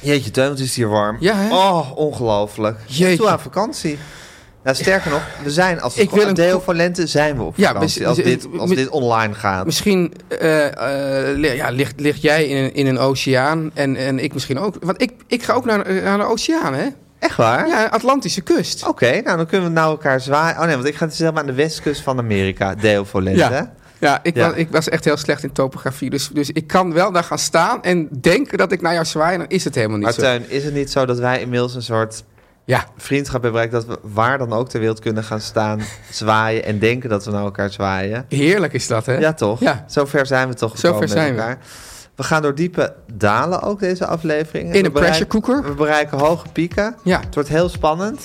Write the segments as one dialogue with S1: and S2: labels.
S1: Jeetje, tuin, wat is hier warm.
S2: Ja, hè?
S1: Oh, ongelooflijk.
S2: Jeetje.
S1: Toe aan vakantie. Nou, sterker nog, we zijn als
S2: Ik wil
S1: een
S2: een
S1: deel
S2: ko-
S1: van lente zijn we op
S2: Ja,
S1: vakantie.
S2: mis-
S1: als,
S2: mis-
S1: dit, als
S2: mis-
S1: dit online gaat.
S2: Misschien eh, eh, li- ja, ligt, ligt jij in een, in een oceaan en, en ik misschien ook. Want ik, ik ga ook naar, eh, naar de oceaan, hè?
S1: Echt waar?
S2: Ja, Atlantische kust.
S1: Oké, nou dan kunnen we nou elkaar zwaaien. Oh nee, want ik ga dus helemaal aan de westkust van Amerika, deel voor lente.
S2: Ja, ja, ik,
S1: Ja.
S2: Was, ik was echt heel slecht in topografie. Dus, dus ik kan wel daar gaan staan en denken dat ik naar jou zwaai. En dan is het helemaal niet
S1: Maar
S2: zo.
S1: Tuin, is het niet zo dat wij inmiddels een soort
S2: Ja,
S1: vriendschap hebben bereikt... dat we waar dan ook ter wereld kunnen gaan staan, zwaaien... en denken dat we naar elkaar zwaaien?
S2: heerlijk is dat, hè?
S1: Ja, toch?
S2: Ja.
S1: Zo ver zijn we toch
S2: Zo
S1: gekomen
S2: ver zijn
S1: met
S2: we.
S1: elkaar. We. gaan door diepe dalen ook deze aflevering.
S2: In
S1: We
S2: een pressure cooker.
S1: We bereiken hoge pieken.
S2: Ja.
S1: Het wordt heel spannend.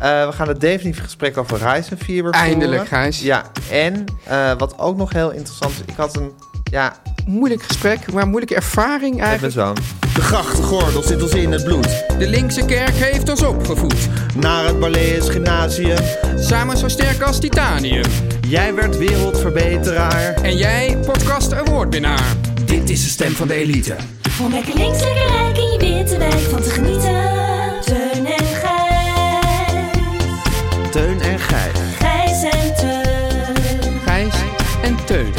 S1: Eh, we gaan het definitief gesprek over Ryzen 4 weer
S2: Eindelijk,
S1: voeren.
S2: Gijs.
S1: Ja, en eh, wat ook nog heel interessant is... ik had een... ja,
S2: Moeilijk gesprek, maar moeilijke ervaring
S1: met mijn
S2: eigenlijk.
S1: zoon.
S3: De grachtgordel zit ons in het bloed.
S4: De linkse kerk heeft ons opgevoed,
S3: Naar het Balees Gymnasium.
S4: samen zo sterk als titanium.
S3: Jij werd wereldverbeteraar.
S4: En jij, podcast awardwinnaar. Dit is de stem van de elite.
S5: Om lekker links, lekker rijk in je witte wijk van te genieten. Teun en Gijs.
S3: Teun en Gijs.
S5: Gijs en Teun.
S2: Gijs en Teun.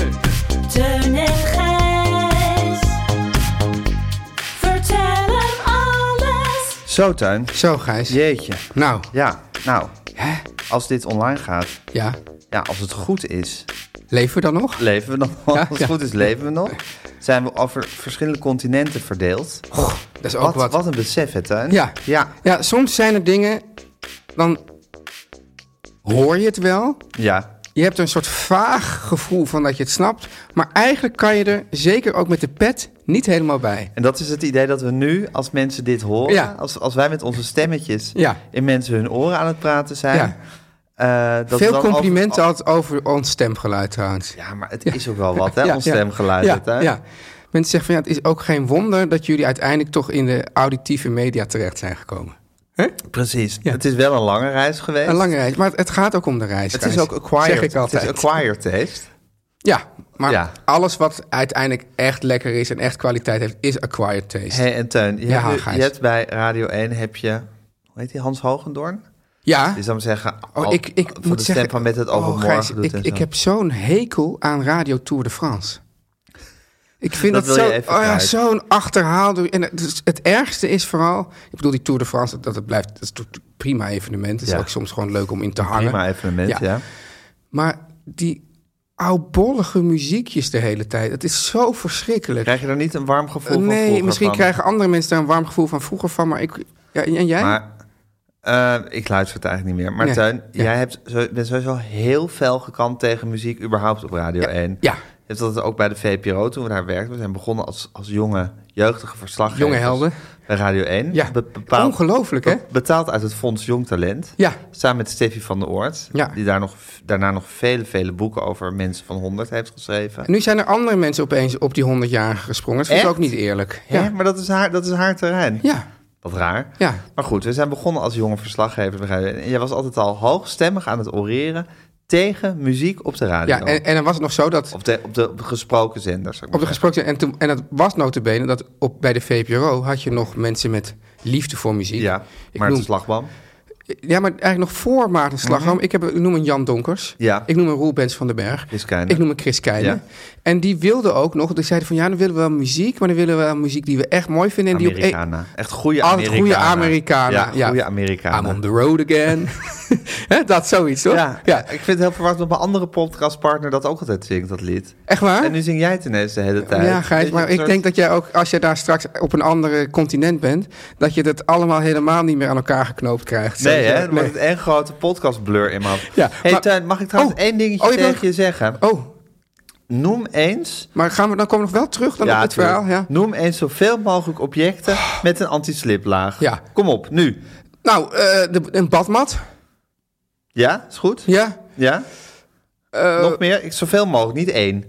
S5: Teun en Gijs. Vertel hem alles.
S1: Zo, Tuin.
S2: Zo, Gijs.
S1: Jeetje.
S2: Nou,
S1: Ja, nou,
S2: hè?
S1: als dit online gaat...
S2: Ja.
S1: Ja, als het goed is,
S2: Leven we dan nog?
S1: leven we nog.
S2: Ja,
S1: als het
S2: ja.
S1: goed is, leven we nog. Zijn we over verschillende continenten verdeeld.
S2: Dat is ook
S1: wat,
S2: wat.
S1: wat een besef, hè, Tuin?
S2: Ja.
S1: Ja,
S2: Ja, soms zijn er dingen, dan hoor je het wel.
S1: ja.
S2: Je hebt een soort vaag gevoel van dat je het snapt. Maar eigenlijk kan je er, zeker ook met de pet, niet helemaal bij.
S1: En dat is het idee dat we nu, als mensen dit horen...
S2: Ja.
S1: Als, als wij met onze stemmetjes
S2: Ja.
S1: in mensen hun oren aan het praten zijn... Ja. dat we
S2: Veel
S1: dan
S2: complimenten
S1: over- Oh,
S2: altijd over ons stemgeluid trouwens.
S1: Ja, maar het is ook wel wat, hè, ons stemgeluid.
S2: Ja,
S1: hè?
S2: ja. Mensen zeggen van ja, het is ook geen wonder dat jullie uiteindelijk toch in de auditieve media terecht zijn gekomen.
S1: Precies.
S2: Ja.
S1: Het is wel een lange reis geweest.
S2: Een lange reis, maar het, het gaat ook om de reis.
S1: Het
S2: Gijs.
S1: is ook acquired.
S2: Zeg ik altijd.
S1: Het is acquired taste.
S2: Ja, maar
S1: Ja.
S2: alles wat uiteindelijk echt lekker is en echt kwaliteit heeft, is acquired taste.
S1: Hey, en Teun, je,
S2: Ja,
S1: hebt, nu-
S2: Gijs.
S1: je hebt bij Radio 1 heb je... Hoe heet die? Hans Hogendoorn?
S2: ja.
S1: Die zou hem zeggen...
S2: Oh,
S1: al-
S2: ik, ik
S1: van
S2: moet
S1: de
S2: zeggen,
S1: stem van met het
S2: oh,
S1: overmorgen
S2: Gijs,
S1: doet
S2: ik,
S1: en zo.
S2: ik heb zo'n hekel aan Radio Tour de France. Ik vind
S1: Dat
S2: dat,
S1: wil je
S2: zo-
S1: even
S2: oh ja,
S1: kwijt.
S2: zo'n achterhaal. En het, is- het ergste is vooral... Ik bedoel, die Tour de France, dat, het blijft, dat is een prima evenement. Het is
S1: Ja.
S2: ook soms gewoon leuk om in te hangen.
S1: Prima evenement, ja.
S2: Ja. Maar die oudbollige muziekjes de hele tijd. Het is zo verschrikkelijk.
S1: Krijg je daar niet een warm gevoel van
S2: nee,
S1: vroeger
S2: misschien
S1: van?
S2: krijgen andere mensen daar een warm gevoel van vroeger van. Maar ik... Ja, en jij?
S1: Maar eh, ik luister het eigenlijk niet meer. Maar
S2: Nee,
S1: Tuin,
S2: ja.
S1: jij hebt zo, bent sowieso heel fel gekant tegen muziek überhaupt op Radio 1.
S2: ja.
S1: Je hebt dat ook bij de VPRO toen we daar werkten. We zijn begonnen als, als jonge, jeugdige verslaggevers.
S2: Jonge helden.
S1: Bij Radio 1.
S2: Ja.
S1: Be- bepaald-
S2: Ongelooflijk, hè?
S1: be- Betaald uit het Fonds Jong Talent.
S2: Ja.
S1: Samen met Steffi van der Oort.
S2: Ja.
S1: Die daar nog, daarna nog vele, vele boeken over mensen van 100 heeft geschreven.
S2: En nu zijn er andere mensen opeens op die 100-jarige gesprongen. Dat vind ik
S1: Echt?
S2: ook niet eerlijk.
S1: Hè?
S2: Ja.
S1: Maar dat is, haar, dat is haar terrein.
S2: ja.
S1: Wat raar.
S2: Ja.
S1: Maar goed, we zijn begonnen als jonge verslaggevers. bij Radio 1. En jij was altijd al hoogstemmig aan het oreren tegen muziek op de radio.
S2: Ja, en, en dan was het nog zo dat
S1: Op, de, op de op de gesproken zender, zou ik
S2: op de
S1: maar zeggen.
S2: gesproken... En, toen, en dat was notabene dat op, bij de VPRO had je nog mensen met liefde voor muziek.
S1: Ja, maar het
S2: noem-
S1: is slagboom.
S2: Ja, maar eigenlijk nog voor Maarten Slagram. ik, heb, ik noem een Jan Donkers.
S1: Mhm. Ja.
S2: Ik noem een Roelbens van den Berg.
S1: Chris Keijne.
S2: Ik noem een Chris Keijne.
S1: Ja.
S2: En die wilde ook nog, die zeiden van ja, dan willen we wel muziek, maar dan willen we wel muziek die we echt mooi vinden. En die op één-
S1: Americana. Echt goede
S2: Altijd
S1: Amerikanen.
S2: goede Amerikanen.
S1: Ja, goede Amerikanen.
S2: I'm on the road again. Hè, dat zoiets, toch?
S1: Ja, ik vind het heel verwacht dat mijn andere podcastpartner dat ook altijd zingt, dat lied.
S2: Echt waar?
S1: En nu zing jij het ineens de hele tijd.
S2: Ja, Gijs,
S1: Weet je,
S2: maar
S1: een
S2: ik
S1: soort-
S2: denk dat jij ook, als je daar straks op een andere continent bent, dat je dat allemaal helemaal niet meer aan elkaar geknoopt krijgt.
S1: Nee, hè?
S2: Zeg je?
S1: Dan wordt het één grote podcastblur in mijn hoofd.
S2: Ja,
S1: hey,
S2: maar-
S1: Tuin, mag ik trouwens
S2: Oh,
S1: één dingetje
S2: oh, je
S1: tegen
S2: bent-
S1: je zeggen?
S2: Oh,
S1: Noem eens...
S2: maar gaan we, dan komen we nog wel terug dan op het
S1: tuurlijk.
S2: verhaal. Ja. Oh.
S1: Noem eens zoveel mogelijk objecten met een antisliplaag.
S2: Ja.
S1: Kom op, nu.
S2: Nou, eh, de, een badmat.
S1: Ja, is goed?
S2: Ja. Eh,
S1: Ja? Nog meer? Ik, zoveel mogelijk, niet één.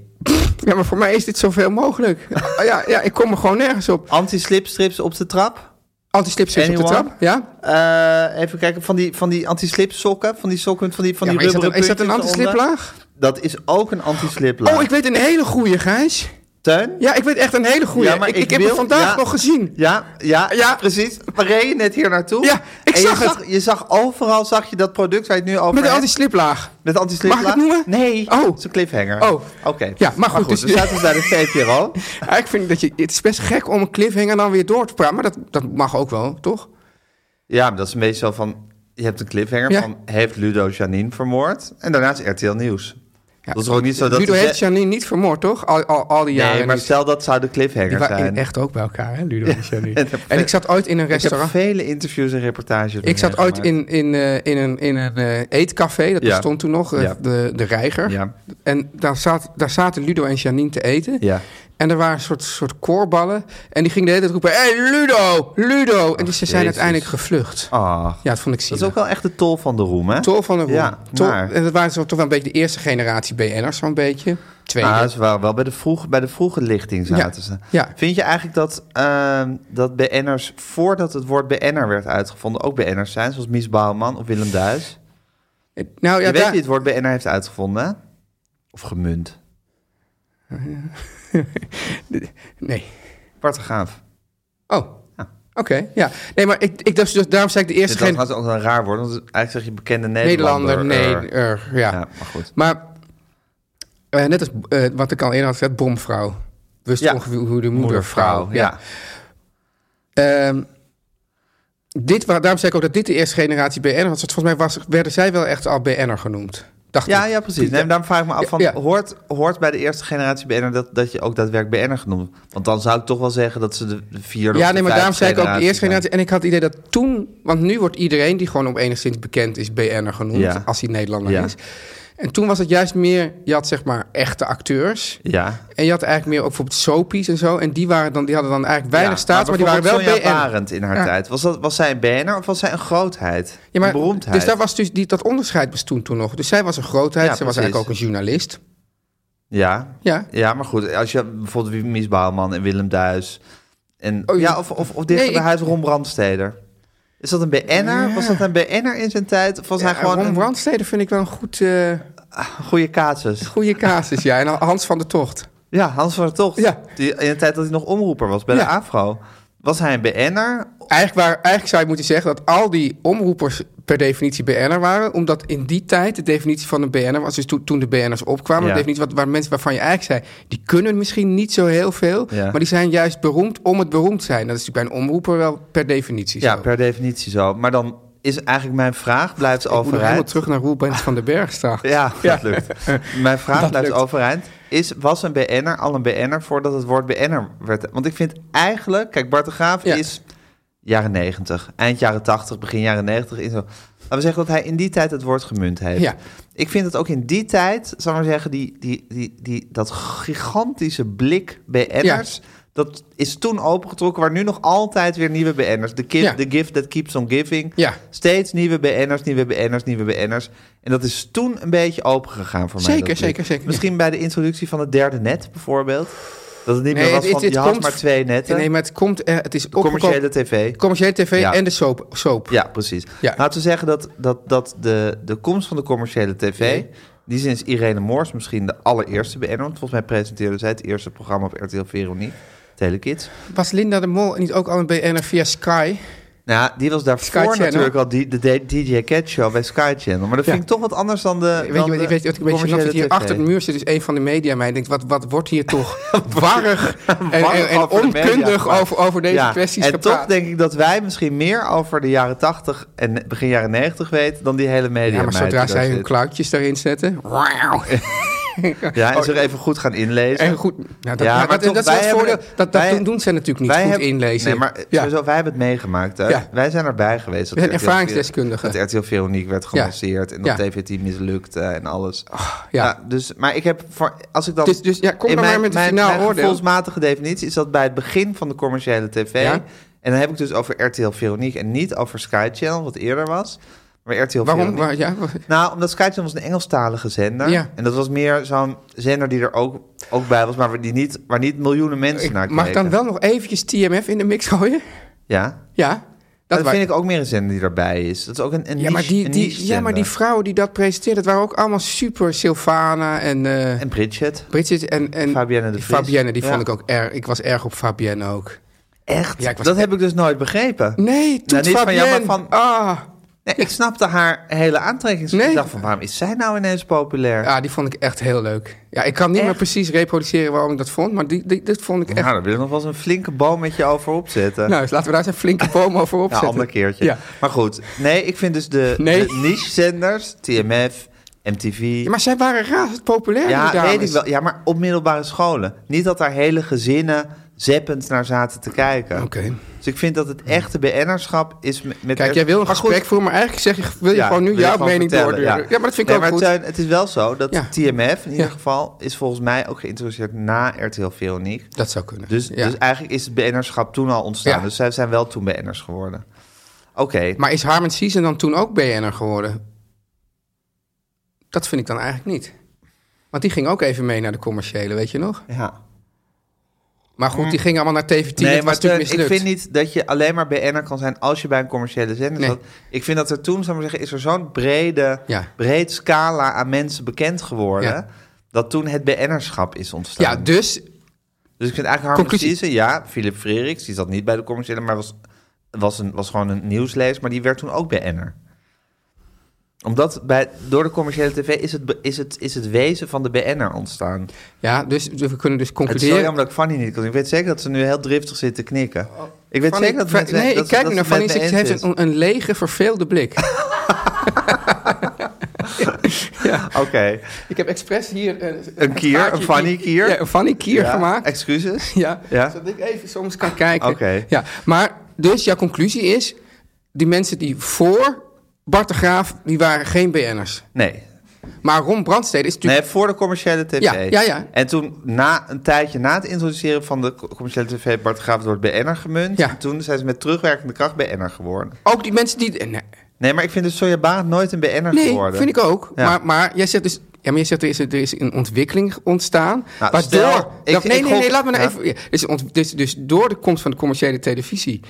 S2: ja, maar voor mij is dit zoveel mogelijk. Ah, ja, ja, ik kom er gewoon nergens op.
S1: Antislipstrips op de trap?
S2: Anti-slipstrips op de
S1: Anyone?
S2: trap. Ja?
S1: Eh, even kijken, van die, van die anti-slip sokken, van die sokken, van die, van
S2: ja
S1: die
S2: maar is, dat een,
S1: rubberen
S2: is dat een
S1: puntjes
S2: anti-sliplaag?
S1: eronder. Dat is ook een anti-sliplaag.
S2: Oh, ik weet een hele goeie, Gijs.
S1: Teun?
S2: Ja, ik weet echt een hele goeie.
S1: Ja, maar
S2: ik,
S1: ik
S2: ik, heb
S1: wil-
S2: het vandaag
S1: ja.
S2: nog gezien.
S1: Ja, ja,
S2: Ja.
S1: precies. We reden net hier naartoe.
S2: Ja, ik
S1: En
S2: zag
S1: je
S2: het.
S1: Zag, je zag overal, zag je dat product waar je het nu over
S2: Met een
S1: hebt.
S2: anti-sliplaag.
S1: Met anti-slip.
S2: Mag ik het noemen?
S1: Nee.
S2: Oh.
S1: Het is een cliffhanger.
S2: Oh.
S1: Oké.
S2: Ja, maar goed, dus-
S1: we zaten bij de VPRO.
S2: Ja, ik vind dat je, het is best gek om een cliffhanger dan weer door te praten. Maar dat, dat mag ook wel, toch?
S1: Ja, maar dat is een beetje zo van... Je hebt een cliffhanger
S2: Ja.
S1: van... Heeft Ludo Janine vermoord? En daarnaast RTL Nieuws.
S2: Ja,
S1: Dat is ook niet zo dat
S2: Ludo
S1: ze-
S2: heeft Janine niet vermoord, toch? Al, al, al die jaren.
S1: Nee, maar
S2: niet.
S1: stel dat zou de cliffhanger
S2: die waren
S1: zijn.
S2: echt ook bij elkaar, hè, Ludo en Janine.
S1: en dat-
S2: En ik zat ooit in een
S1: Ik heb
S2: restaurant.
S1: vele interviews en reportages. met
S2: Ik zat
S1: hen
S2: ooit
S1: gemaakt.
S2: in, in, eh, in een, in een eh, eetcafé, dat
S1: Ja.
S2: bestond toen nog, eh,
S1: Ja.
S2: de, de Reiger.
S1: Ja.
S2: En daar, zat, daar zaten Ludo en Janine te eten.
S1: Ja.
S2: En er waren een soort, soort koorballen. En die gingen de hele tijd roepen, hey, Ludo, Ludo. en die, ze zijn
S1: Jezus.
S2: uiteindelijk gevlucht.
S1: Ach,
S2: Ja, dat vond ik
S1: dat
S2: zielig.
S1: is ook wel echt de tol van de roem, hè?
S2: Tol van de Roem.
S1: Ja,
S2: Tol-
S1: maar-
S2: En dat waren zo, toch wel een beetje de eerste generatie BN'ers, zo'n beetje. Tweede.
S1: Ah, ze waren wel bij de, vroeg, bij de vroege lichting zaten
S2: Ja,
S1: ze.
S2: ja.
S1: Vind je eigenlijk dat, ehm dat BN'ers, voordat het woord BN'er werd uitgevonden, ook BN'ers zijn? Zoals Mies Bouwman of Willem Duis?
S2: nou ja,
S1: je weet
S2: daar,
S1: wie het woord BN'er heeft uitgevonden, hè? Of gemunt.
S2: Nee.
S1: Bart de Graaf.
S2: Oh.
S1: Ah.
S2: Oké, ja. Nee, maar ik, ik, dus, dus daarom zei ik de
S1: Dit
S2: eerste
S1: was
S2: generatie.
S1: trouwens ook een raar woord, want eigenlijk zeg je bekende Nederlander. eh,
S2: Nederlander, nee,
S1: er.
S2: er, ja.
S1: Ja, maar goed.
S2: Maar eh, net als eh, wat ik al eerder had gezegd, bomvrouw. Wist
S1: Ja.
S2: ongeveer hoe de moedervrouw.
S1: Moedervrouw, ja.
S2: Ehm, dit, wa- daarom zei ik ook dat dit de eerste generatie BN'er was. Want volgens mij was, werden zij wel echt al BN'er genoemd. Dacht
S1: Ja,
S2: ik.
S1: ja, precies. Nee, maar daarom vraag ik me af, van,
S2: Ja.
S1: Hoort, hoort bij de eerste generatie BN'er dat, dat je ook daadwerkelijk BN'er genoemd wordt? Want dan zou ik toch wel zeggen dat ze de de vierde
S2: Ja,
S1: of de
S2: nee, maar daarom
S1: vijfde
S2: zei ik ook de eerste
S1: zijn.
S2: generatie. En ik had het idee dat toen... Want nu wordt iedereen die gewoon op enigszins bekend is BN'er genoemd.
S1: Ja.
S2: Als hij Nederlander
S1: Ja.
S2: is. En toen was het juist meer... Je had zeg maar echte acteurs.
S1: Ja.
S2: En je had eigenlijk meer ook bijvoorbeeld soapies en zo. En die, waren dan, die hadden dan eigenlijk weinig staat, maar die waren wel
S1: bijvoorbeeld Sonja
S2: BN'er.
S1: Barend in haar
S2: Ja.
S1: tijd. Was, dat, was zij een BN'er of was zij een grootheid?
S2: Ja, maar,
S1: een beroemdheid?
S2: Dus daar was dus die, dat onderscheid bestond toen nog. Dus zij was een grootheid.
S1: Ja,
S2: zij was
S1: precies.
S2: eigenlijk ook een journalist.
S1: ja.
S2: Ja.
S1: ja, maar goed. Als je bijvoorbeeld wie- Mies Bouwman en Willem Duis... En,
S2: Oh,
S1: ja,
S2: je-
S1: of, of, of dichter
S2: Nee,
S1: bij
S2: ik-
S1: huis Ron Brandsteder. Is dat een BN'er? Was dat een BN'er in zijn tijd? Of was hij
S2: Ja,
S1: gewoon
S2: Ron
S1: een
S2: Brandstede vind ik wel een goed, eh,
S1: goede casus?
S2: goede casus. ja, en Hans van der Tocht.
S1: Ja, Hans van der Tocht.
S2: Ja.
S1: Die, in de tijd dat hij nog omroeper was bij de
S2: Ja.
S1: AFRO. Was hij een BN'er?
S2: Eigenlijk, waar, eigenlijk zou je moeten zeggen dat al die omroepers per definitie BN'er waren. Omdat in die tijd de definitie van een BN'er was. Dus toen, toen de BN'ers opkwamen.
S1: Ja.
S2: De definitie wat, waar mensen waarvan je eigenlijk zei. Die kunnen misschien niet zo heel veel.
S1: Ja.
S2: Maar die zijn juist beroemd om het beroemd zijn. Dat is natuurlijk bij een omroeper wel per definitie
S1: Ja,
S2: zo.
S1: per definitie zo. Maar dan is eigenlijk mijn vraag, blijft
S2: Ik moet nog helemaal
S1: overeind...
S2: terug naar Roel Bent van den Berg straks.
S1: Ja, dat lukt. Mijn vraag
S2: Dat
S1: blijft
S2: lukt.
S1: overeind. Is, was een BN'er al een BN'er voordat het woord BN'er werd? Want ik vind eigenlijk... Kijk, Bart de Graaf
S2: Ja.
S1: is jaren 90, Eind jaren 80, begin jaren 90. Is zo. Laten we zeggen dat hij in die tijd het woord gemunt heeft.
S2: Ja.
S1: Ik vind dat ook in die tijd, zal ik maar zeggen... Die, die, die, die, dat gigantische blik BN'ers... Dat is toen opengetrokken, waar nu nog altijd weer nieuwe BN'ers. De,
S2: Ja.
S1: gift the gift that keeps on giving.
S2: Ja.
S1: Steeds nieuwe BN'ers, nieuwe BN'ers, nieuwe BN'ers. En dat is toen een beetje opengegaan voor mij.
S2: Zeker,
S1: dat blik.
S2: zeker, zeker, ja.
S1: Misschien bij de introductie van het derde net bijvoorbeeld. Dat het niet meer was van, je had maar twee netten.
S2: Nee, maar het komt... eh, het is opgekomen-
S1: commerciële tv.
S2: commerciële tv
S1: Ja.
S2: en de soap. soap.
S1: ja, precies.
S2: Ja.
S1: Laten we zeggen dat, dat, dat de, de komst van de commerciële tv... Die sinds Irene Moors misschien de allereerste BN'er. Want volgens mij presenteerde zij het eerste programma op RTL Veronique. Telekids.
S2: Was Linda de Mol niet ook al een BN'er via Sky?
S1: Nou, die was daarvoor
S2: Sky Channel.
S1: natuurlijk al die, de D- DJ Cat Show bij Sky Channel. Maar dat vind
S2: Ja.
S1: ik toch wat anders dan de.
S2: Weet je,
S1: dan eh,
S2: wat-
S1: de
S2: weet je wat ik een beetje
S1: commerciële
S2: zat? Hier
S1: tv.
S2: achter de muur zit dus een van de media mij. denkt, wat, wat wordt hier toch warrig en, en,
S1: Warm
S2: en
S1: over de media,
S2: onkundig
S1: maar-
S2: over, over deze
S1: Ja,
S2: kwesties
S1: En
S2: gepraat.
S1: toch denk ik dat wij misschien meer over de jaren 80 en begin jaren 90 weten dan die hele media.
S2: ja, maar
S1: meid
S2: zodra
S1: die daar
S2: zij hun
S1: zit.
S2: klauwtjes daarin zetten... Wauw.
S1: Ja, en ze er even goed gaan inlezen.
S2: En goed, nou, dat,
S1: Ja,
S2: nou,
S1: maar
S2: dat,
S1: toch,
S2: dat is wel het
S1: wij
S2: voordeel.
S1: hebben-
S2: Dat, dat
S1: wij-
S2: doen- doen ze natuurlijk niet
S1: wij
S2: goed
S1: hebben-
S2: inlezen.
S1: Nee, maar
S2: ja.
S1: sowieso, wij hebben het meegemaakt. hè.
S2: Ja.
S1: Wij zijn erbij geweest.
S2: We
S1: dat
S2: zijn
S1: RTL
S2: ervaringsdeskundigen.
S1: Dat RTL Veronique werd gelanceerd en dat
S2: Ja.
S1: TV-team mislukte en alles.
S2: ja.
S1: dus, maar ik heb voor, als ik dan...
S2: Dus- dus ja, kom
S1: in
S2: dan maar met een
S1: mijn,
S2: finaal
S1: mijn
S2: oordeel.
S1: gevoelsmatige definitie is dat bij het begin van de commerciële tv...
S2: Ja.
S1: En dan heb ik dus over RTL Veronique en niet over Sky Channel, wat eerder was. Maar RTL
S2: Waarom?
S1: Veronique...
S2: Waar, ja, wa-
S1: Nou, omdat Sky Channel was een Engelstalige zender.
S2: Ja.
S1: En dat was meer zo'n zender die er ook, ook bij was, maar waar, die niet, waar niet miljoenen mensen
S2: ik
S1: naar keken.
S2: mag dan wel nog eventjes TMF in de mix gooien?
S1: Ja.
S2: Ja.
S1: Dat,
S2: wa-
S1: vind ik ook meer een zender die erbij is. Dat is ook een, een
S2: ja, maar
S1: niche-
S2: die,
S1: een
S2: die,
S1: niche-zender.
S2: ja, maar die vrouwen die dat presenteerden, dat waren ook allemaal super Sylvana en... eh,
S1: En Bridget.
S2: Bridget en, en
S1: Fabienne de Vries.
S2: Fabienne, die
S1: Ja.
S2: vond ik ook erg. Ik was erg op Fabienne ook.
S1: Echt?
S2: Ja, ik was-
S1: dat heb ik dus nooit begrepen. Nou,
S2: Nee, toen
S1: niet van jou,
S2: Fabienne.
S1: maar van-
S2: Ah,
S1: Nee, ik snapte haar hele aantrekkingskracht.
S2: Nee.
S1: Ik dacht van, waarom is zij nou ineens populair?
S2: ja, die vond ik echt heel leuk. Ja, ik kan niet
S1: Echt?
S2: meer precies reproduceren waarom ik dat vond, maar die, die, dit vond ik echt...
S1: Nou, daar wil ik nog wel eens een flinke boom met je over opzetten.
S2: Nou, dus laten we daar eens een flinke boom over
S1: Ja,
S2: opzetten.
S1: ander keertje.
S2: Ja.
S1: Maar goed, nee, ik vind dus de,
S2: Nee.
S1: de niche-zenders, TMF, MTV...
S2: Ja, maar zij waren razend populair, die
S1: ja,
S2: dames.
S1: weet ik wel. Ja, maar op middelbare scholen. Niet dat daar hele gezinnen zeppend naar zaten te kijken.
S2: Oké.
S1: Dus ik vind dat het echte BN'erschap is met... met-
S2: Kijk, jij wil een
S1: Maar goed,
S2: gesprek voeren, maar eigenlijk zeg je, wil je
S1: Ja,
S2: gewoon nu
S1: wil je
S2: jouw
S1: gewoon
S2: mening
S1: vertellen,
S2: doorduwen. Ja. maar dat vind
S1: Nee,
S2: ik ook
S1: maar
S2: goed.
S1: Teun, het is wel zo dat
S2: Ja.
S1: TMF in ieder
S2: Ja.
S1: geval is volgens mij ook geïntroduceerd na RTL Veronique.
S2: dat zou kunnen.
S1: Dus,
S2: Ja.
S1: dus eigenlijk is het BN'erschap toen al ontstaan.
S2: Ja.
S1: Dus zij zijn wel toen BN'ers geworden. Oké,
S2: Maar is Harman Season dan toen ook BN'er geworden? Dat vind ik dan eigenlijk niet. Want die ging ook even mee naar de commerciële, weet je nog?
S1: ja.
S2: Maar
S1: Mm.
S2: goed, die gingen allemaal naar TV10. Nee, was
S1: Teun,
S2: natuurlijk mislukt.
S1: eh, ik vind niet dat je alleen maar BN'er kan zijn als je bij een commerciële zender
S2: Nee.
S1: zat. Ik vind dat er toen, zou ik maar zeggen, is er zo'n brede,
S2: Ja.
S1: breed scala aan mensen bekend geworden...
S2: Ja.
S1: dat toen het BN'erschap is ontstaan.
S2: Ja, dus
S1: Dus ik vind eigenlijk Harm
S2: Conclusie.
S1: Precieze, ja, Philip Freriks, die zat niet bij de commerciële, maar was, was, een, was gewoon een nieuwslezer, maar die werd toen ook BN'er. Omdat bij, door de commerciële tv is het, be- is het, is het wezen van de BN'er ontstaan.
S2: Ja, dus we kunnen dus
S1: Het is zo
S2: concluderen.
S1: jammer dat ik Fanny niet kan. Ik weet zeker dat ze nu heel driftig zit te knikken. Ik weet
S2: Oh, Fanny-
S1: zeker dat...
S2: Fra-
S1: mensen-
S2: nee,
S1: dat
S2: ik
S1: ze-
S2: kijk
S1: dat
S2: nu naar
S1: ze het
S2: Fanny.
S1: met
S2: Ze
S1: me
S2: ze
S1: eens
S2: heeft
S1: is.
S2: een, een lege, verveelde blik.
S1: Oké,
S2: ik heb expres hier eh,
S1: Een kier,
S2: vaatje
S1: een Fanny
S2: in-
S1: kier?
S2: Ja, een Fanny kier
S1: Ja,
S2: gemaakt.
S1: Excuses.
S2: Ja,
S1: Ja.
S2: zodat ik even soms kan kijken.
S1: Oké.
S2: Ja, maar dus jouw conclusie is... die mensen die voor Bart de Graaf... die waren geen BN'ers.
S1: Nee.
S2: Maar Ron Brandstede is natuurlijk...
S1: nee, voor de commerciële tv.
S2: Ja, ja, ja.
S1: En toen, na, een tijdje na het introduceren van de co- commerciële tv... Bart de Graaf door het BN'er gemunt.
S2: Ja.
S1: En toen zijn ze met terugwerkende kracht BN'er geworden.
S2: Ook die mensen die... Nee,
S1: Nee, maar ik vind dus Sonja Barend nooit een BN'er
S2: nee
S1: geworden.
S2: vind ik ook.
S1: Ja.
S2: Maar, maar jij zegt dus... Ja, maar je zegt er is, er is een ontwikkeling ontstaan.
S1: Nou,
S2: waardoor.
S1: stel, ik-
S2: dat- nee,
S1: ik
S2: nee,
S1: gok-
S2: nee, laat me nou
S1: ja.
S2: even. ja, Dus, ont- dus, dus door de komst van de commerciële televisie.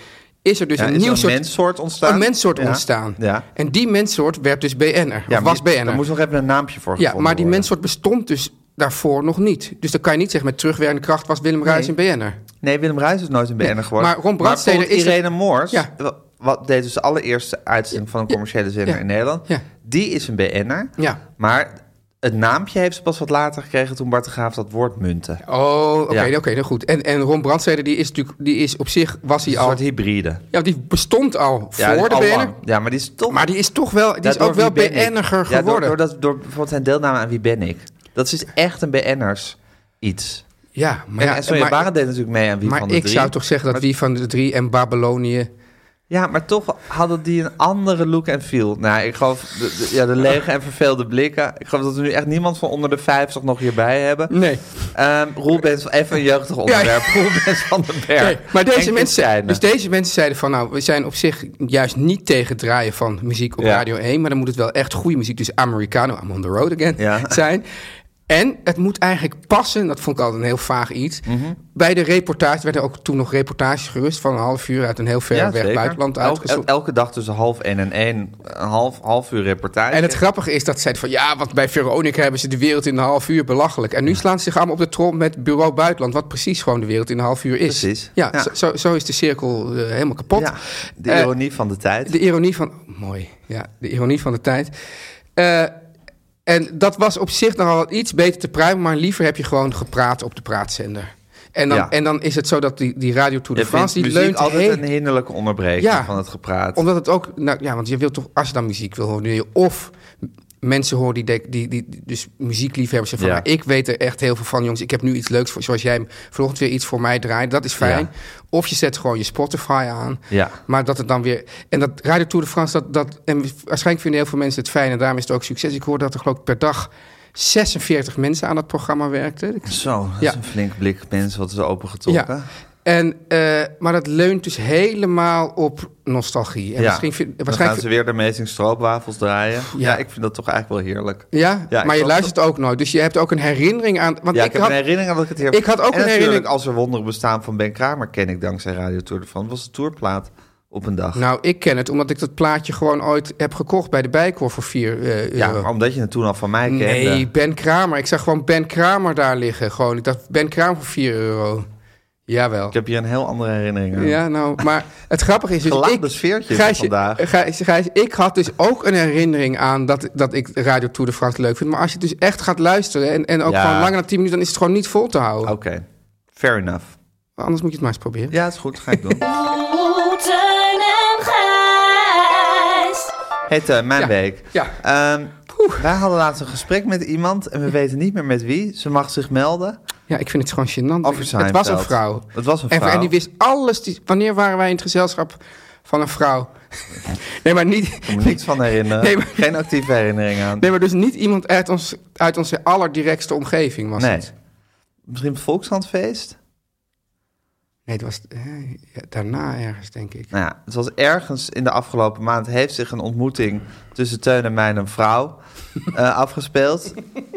S2: is er dus
S1: Ja,
S2: een
S1: is er
S2: nieuw
S1: een
S2: soort.
S1: menssoort ontstaan?
S2: Een menssoort
S1: Ja.
S2: ontstaan.
S1: Ja.
S2: En die menssoort werd dus BN'er. of was
S1: BN'er.
S2: BN'er.
S1: Daar moest nog even een naampje voor
S2: Ja,
S1: gevonden
S2: maar die
S1: worden.
S2: menssoort bestond dus daarvoor nog niet. Dus dan kan je niet zeggen met terugwerkende kracht was Willem Ruijs
S1: Nee.
S2: een BN'er.
S1: Nee, Willem Ruijs is nooit een BN'er geworden.
S2: maar Ron Brandstede
S1: bijvoorbeeld
S2: is er-
S1: Irene Moors,
S2: Ja.
S1: wa- wat deed dus de allereerste uitzending van een commerciële zender
S2: ja,
S1: in Nederland.
S2: ja.
S1: Die is een BN'er.
S2: Ja.
S1: Maar het naampje heeft ze pas wat later gekregen toen Bart de Graaf dat woord Dus munte. Een
S2: Oh, oké,
S1: Ja.
S2: oké, nou goed. En, en Ron Brandstede, die is natuurlijk, die is op zich, was hij al...
S1: soort hybride.
S2: Ja, die bestond al
S1: Ja,
S2: voor de
S1: al
S2: BN'er.
S1: lang. Ja, maar die is toch...
S2: Maar die is toch wel, die is
S1: daardoor
S2: ook wel
S1: Wie Ben Ik.
S2: BN'er
S1: Ja, door,
S2: geworden.
S1: door, dat, door bijvoorbeeld zijn deelname aan Wie Ben Ik. Dat is dus echt een BN'ers iets.
S2: Ja, maar,
S1: en,
S2: ja,
S1: en Sonja
S2: maar,
S1: Barend deed natuurlijk mee aan Wie
S2: maar
S1: van de
S2: ik
S1: Drie.
S2: zou toch zeggen dat wie van de drie en Babylonië...
S1: Ja, maar toch hadden die een andere look en feel. Nou, ik geloof, de, de- ja, de lege en verveelde blikken. Ik geloof dat we nu echt niemand van onder de 50 nog hierbij hebben.
S2: Nee.
S1: Ehm Roel Bens, even een jeugdig onderwerp. Roel Bens van den Berg.
S2: Nee, maar deze
S1: En
S2: mensen,
S1: Christijne.
S2: dus deze mensen zeiden van nou, we zijn op zich juist niet tegen het draaien van muziek op
S1: Ja.
S2: Radio 1, maar dan moet het wel echt goede muziek, dus Americano, I'm on the road again,
S1: Ja.
S2: zijn. En het moet eigenlijk passen, dat vond ik altijd een heel vaag iets.
S1: Mhm.
S2: Bij de reportage werden ook toen nog reportages gerust van een half uur uit een heel ver
S1: Ja,
S2: weg
S1: zeker.
S2: buitenland
S1: Elke-
S2: uitgezonden.
S1: el- elke dag tussen half één en één, een half, half uur reportage.
S2: En het grappige is dat ze zeiden van ja, want bij Veronica hebben ze de wereld in een half uur belachelijk. En nu slaan ze zich allemaal op de trom met Bureau Buitenland, wat precies gewoon de wereld in een half uur is.
S1: Precies.
S2: Ja,
S1: Ja.
S2: Zo, zo, zo is de cirkel eh, helemaal kapot.
S1: Ja, de
S2: Eh,
S1: ironie van de tijd.
S2: De ironie van. Mooi, ja, de ironie van de tijd. Eh, en dat was op zich nogal wat iets beter te pruimen, maar liever heb je gewoon gepraat op de praatzender. En dan,
S1: Ja.
S2: en dan is het zo dat die, die Radio Tour de
S1: Ik vind
S2: France, die
S1: muziek
S2: leunt
S1: altijd
S2: heel-
S1: een hinderlijke onderbreking
S2: Ja.
S1: van het gepraat.
S2: omdat het ook, nou ja, want je wilt toch, als je dan muziek wil horen, wil je of m- mensen horen die, dek- die, die, die- dus muziekliefhebbers zeggen van,
S1: Ja.
S2: nou, ik weet er echt heel veel van, jongens, ik heb nu iets leuks voor, zoals jij vanochtend weer iets voor mij draait, dat is fijn.
S1: Ja.
S2: Of je zet gewoon je Spotify aan,
S1: Ja.
S2: maar dat het dan weer, en dat Radio Tour de France, dat, dat, en waarschijnlijk vinden heel veel mensen het fijn en daarom is het ook succes. Ik hoor dat er geloof ik per dag 46 mensen aan dat programma werkten. Ik
S1: Zo, dat
S2: Ja.
S1: is een flink blik mensen wat is opengetrokken.
S2: En, eh, maar dat leunt dus helemaal op nostalgie. En
S1: Ja.
S2: misschien vind-
S1: Dan gaan
S2: waarschijnlijk
S1: ze weer de Amazing Stroopwafels draaien. Ja.
S2: Ja.
S1: ik vind dat toch eigenlijk wel heerlijk.
S2: Ja,
S1: Ja, ik
S2: maar je
S1: was-
S2: luistert ook nooit. Dus je hebt ook een herinnering aan. Want
S1: ja, ik,
S2: ik,
S1: heb
S2: had,
S1: een herinnering aan dat ik het hier
S2: ik had ook
S1: En
S2: een
S1: natuurlijk,
S2: herinnering-
S1: als er wonderen bestaan van Ben Kramer... ken ik dankzij Radio Tour de France. Dat was de tourplaat op een dag.
S2: Nou, ik ken het omdat ik dat plaatje gewoon ooit heb gekocht bij de Bijkoor voor 4 euro.
S1: ja, maar omdat je het toen al van mij kende.
S2: nee, Ben Kramer. Ik zag gewoon Ben Kramer daar liggen. Gewoon. Ik dacht, Ben Kramer voor 4 euro. Jawel.
S1: Ik heb hier een heel andere herinnering aan.
S2: Ja, nou, maar het grappige is... Dus
S1: Geladen
S2: ik,
S1: sfeertje is
S2: Gijsje-
S1: vandaag.
S2: Gijs, Gijs, ik had dus ook een herinnering aan dat, dat ik Radio Tour de France leuk vind. Maar als je dus echt gaat luisteren en, en ook
S1: Ja.
S2: gewoon langer dan 10 minuten... dan is het gewoon niet vol te houden.
S1: Oké, fair enough.
S2: Anders moet je het maar eens proberen.
S1: Ja, is goed, ga ik doen.
S5: Oh, Teun en Gijs.
S1: Hey Teun, eh, mijn
S2: Ja.
S1: week.
S2: Ja.
S1: Ehm, wij hadden laatst een gesprek met iemand en we weten niet meer met wie. Ze mag zich melden.
S2: Ja, ik vind het gewoon gênant.
S1: Over
S2: het was een
S1: Seinfeld.
S2: vrouw.
S1: Het was een
S2: En-
S1: vrouw.
S2: En, die wist alles. Die, wanneer waren wij in het gezelschap van een vrouw? nee, maar niet...
S1: Ik kan me niks van herinneren.
S2: Nee, maar-
S1: Geen actieve herinnering aan.
S2: Nee, maar dus niet iemand uit, ons, uit onze allerdirectste omgeving was
S1: Nee.
S2: het.
S1: Misschien het Volkshandfeest?
S2: Nee, het was eh, ja, daarna ergens, denk ik.
S1: Nou ja, het was ergens in de afgelopen maand heeft zich een ontmoeting tussen Teun en mij en een vrouw eh, afgespeeld.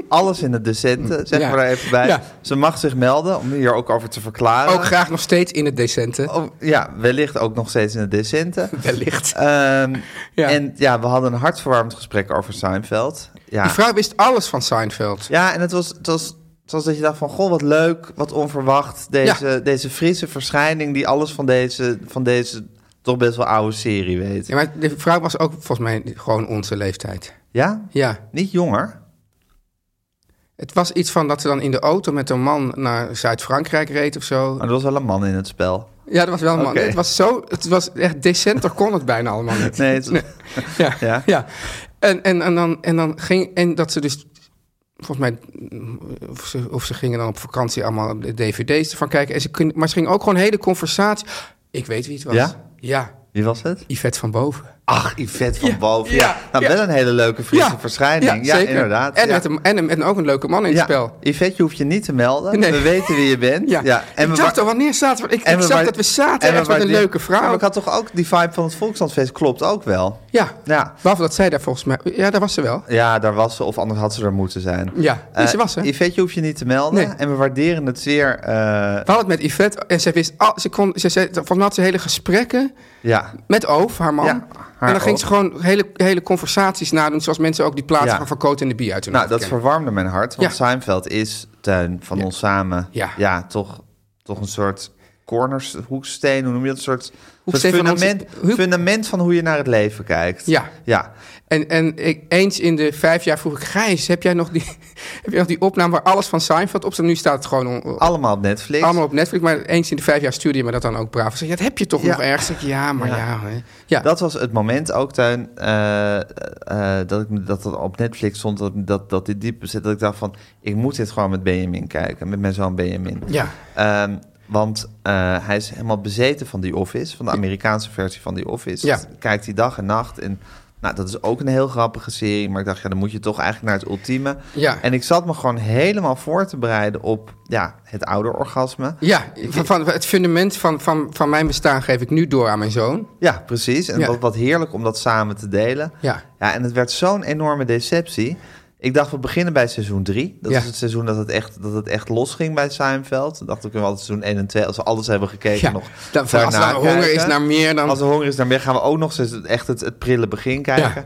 S1: Alles in het decente, zeg
S2: Ja.
S1: maar er even bij.
S2: Ja.
S1: Ze mag zich melden om hier ook over te verklaren.
S2: Ook graag nog steeds in het decente.
S1: Oh, ja, wellicht ook nog steeds in het decente.
S2: Wellicht.
S1: Ehm,
S2: Ja.
S1: En ja, we hadden een hartverwarmend gesprek over Seinfeld. Ja,
S2: Die vrouw wist alles van Seinfeld.
S1: ja en het was, het, was, het was dat je dacht van... Goh, wat leuk, wat onverwacht. Deze,
S2: Ja.
S1: deze frisse verschijning die alles van deze, van deze toch best wel oude serie weet.
S2: Ja,
S1: Ja?
S2: maar de vrouw was ook volgens mij gewoon onze leeftijd. Ja.
S1: Niet jonger?
S2: Het was iets van dat ze dan in de auto met een man naar Zuid-Frankrijk reed of zo.
S1: Maar er was wel een man in het spel.
S2: Ja, dat was wel een man.
S1: Oké.
S2: Het was zo, het was echt decenter kon het bijna allemaal niet.
S1: Nee, het-
S2: Ja,
S1: Ja.
S2: ja. En, en, en, dan, en dan ging, en dat ze dus, volgens mij, mm, of ze, of ze gingen dan op vakantie allemaal de dvd's ervan kijken. En ze kun, maar ze gingen ook gewoon hele conversatie. Ik weet wie het was.
S1: Ja?
S2: Ja,
S1: Wie was het?
S2: Yvette van Boven.
S1: Ach, Yvette van
S2: Ja,
S1: Boven. Ja.
S2: ja,
S1: Nou,
S2: ja.
S1: wel een hele leuke frisse verschijning. Ja,
S2: zeker.
S1: inderdaad.
S2: En,
S1: ja.
S2: met een, en, een- en ook een leuke man in het
S1: Ja.
S2: spel.
S1: Yvette, je hoeft je niet te melden.
S2: Nee.
S1: We weten wie je bent.
S2: Ja.
S1: En
S2: ik
S1: we
S2: dacht al, wanneer zaten we? Ik, ik zag
S1: waard-
S2: dat we zaten
S1: we
S2: echt met een
S1: waardeer-
S2: leuke
S1: Ja,
S2: vrouw.
S1: maar
S2: Ja,
S1: ik had toch ook die vibe van het Volkshandfeest, klopt ook wel. Ja.
S2: behalve dat zij daar volgens mij... Ja, daar was ze wel.
S1: Ja, daar was ze, of anders had ze er moeten zijn.
S2: Ja, dus
S1: Eh,
S2: ze was er.
S1: Yvette, je hoeft je niet te melden.
S2: Nee.
S1: En we waarderen het zeer. eh,
S2: We hadden het met Yvette en ze wist al, ze kon, ze, ze, volgens mij had ze hele gesprekken
S1: ja. Nou,
S2: met Oof, haar man.
S1: Ja,
S2: en
S1: haar
S2: dan ging ze
S1: Oof.
S2: gewoon hele, hele conversaties nadoen, zoals mensen ook die plaatsen
S1: Ja.
S2: van Van Koot en de Bie uit hun
S1: Nou,
S2: hoofd
S1: dat
S2: kennen.
S1: verwarmde mijn hart. Want
S2: Ja.
S1: Seinfeld is, Tuin, van
S2: Ja.
S1: ons samen...
S2: Ja.
S1: toch, toch een soort corners, hoeksteen, hoe noem je dat? Een soort soort
S2: Hoeksteen van onze-
S1: fundament,
S2: hoek-
S1: fundament van hoe je naar het leven kijkt.
S2: Ja.
S1: Ja.
S2: En, en ik, eens in de vijf jaar vroeg ik, Gijs, heb jij nog die, heb jij nog die opname waar alles van Seinfeld op staat? Nu staat het gewoon on-
S1: Allemaal op Netflix.
S2: allemaal op Netflix, maar eens in de vijf jaar stuurde je me dat dan ook braaf. Ik Zeg, ja, dat heb je toch
S1: Ja.
S2: nog ergens? Ik, ja, maar ja. hè. ja.
S1: Dat was het moment ook, Tuin, eh, eh, dat, ik, dat dat op Netflix stond, dat, dat, dat dit diep zit, dat ik dacht van, ik moet dit gewoon met Benjamin kijken, met mijn zoon Benjamin.
S2: Ja.
S1: Ehm, want eh, hij is helemaal bezeten van The Office, van de Amerikaanse versie van The Office.
S2: Ja.
S1: Dat Kijkt hij dag en nacht en... Nou, dat is ook een heel grappige serie, maar ik dacht, ja, dan moet je toch eigenlijk naar het ultieme.
S2: Ja.
S1: En ik zat me gewoon helemaal voor te bereiden op ja, het ouderorgasme.
S2: Ja, van, van het fundament van, van, van mijn bestaan geef ik nu door aan mijn zoon.
S1: Ja, precies. En
S2: Ja.
S1: Wat, wat heerlijk om dat samen te delen.
S2: Ja.
S1: ja en het werd zo'n enorme deceptie. Ik dacht, we beginnen bij seizoen 3. Dat
S2: Ja.
S1: is het seizoen dat het echt, dat het echt losging bij Seinfeld. Dan dacht ik, we hadden seizoen 1 en 2, als we alles hebben gekeken
S2: Ja,
S1: nog.
S2: dan- als er
S1: daarna
S2: honger
S1: kijken.
S2: is naar meer, dan-
S1: Als er honger is naar meer, gaan we ook nog eens echt het, het prille begin kijken.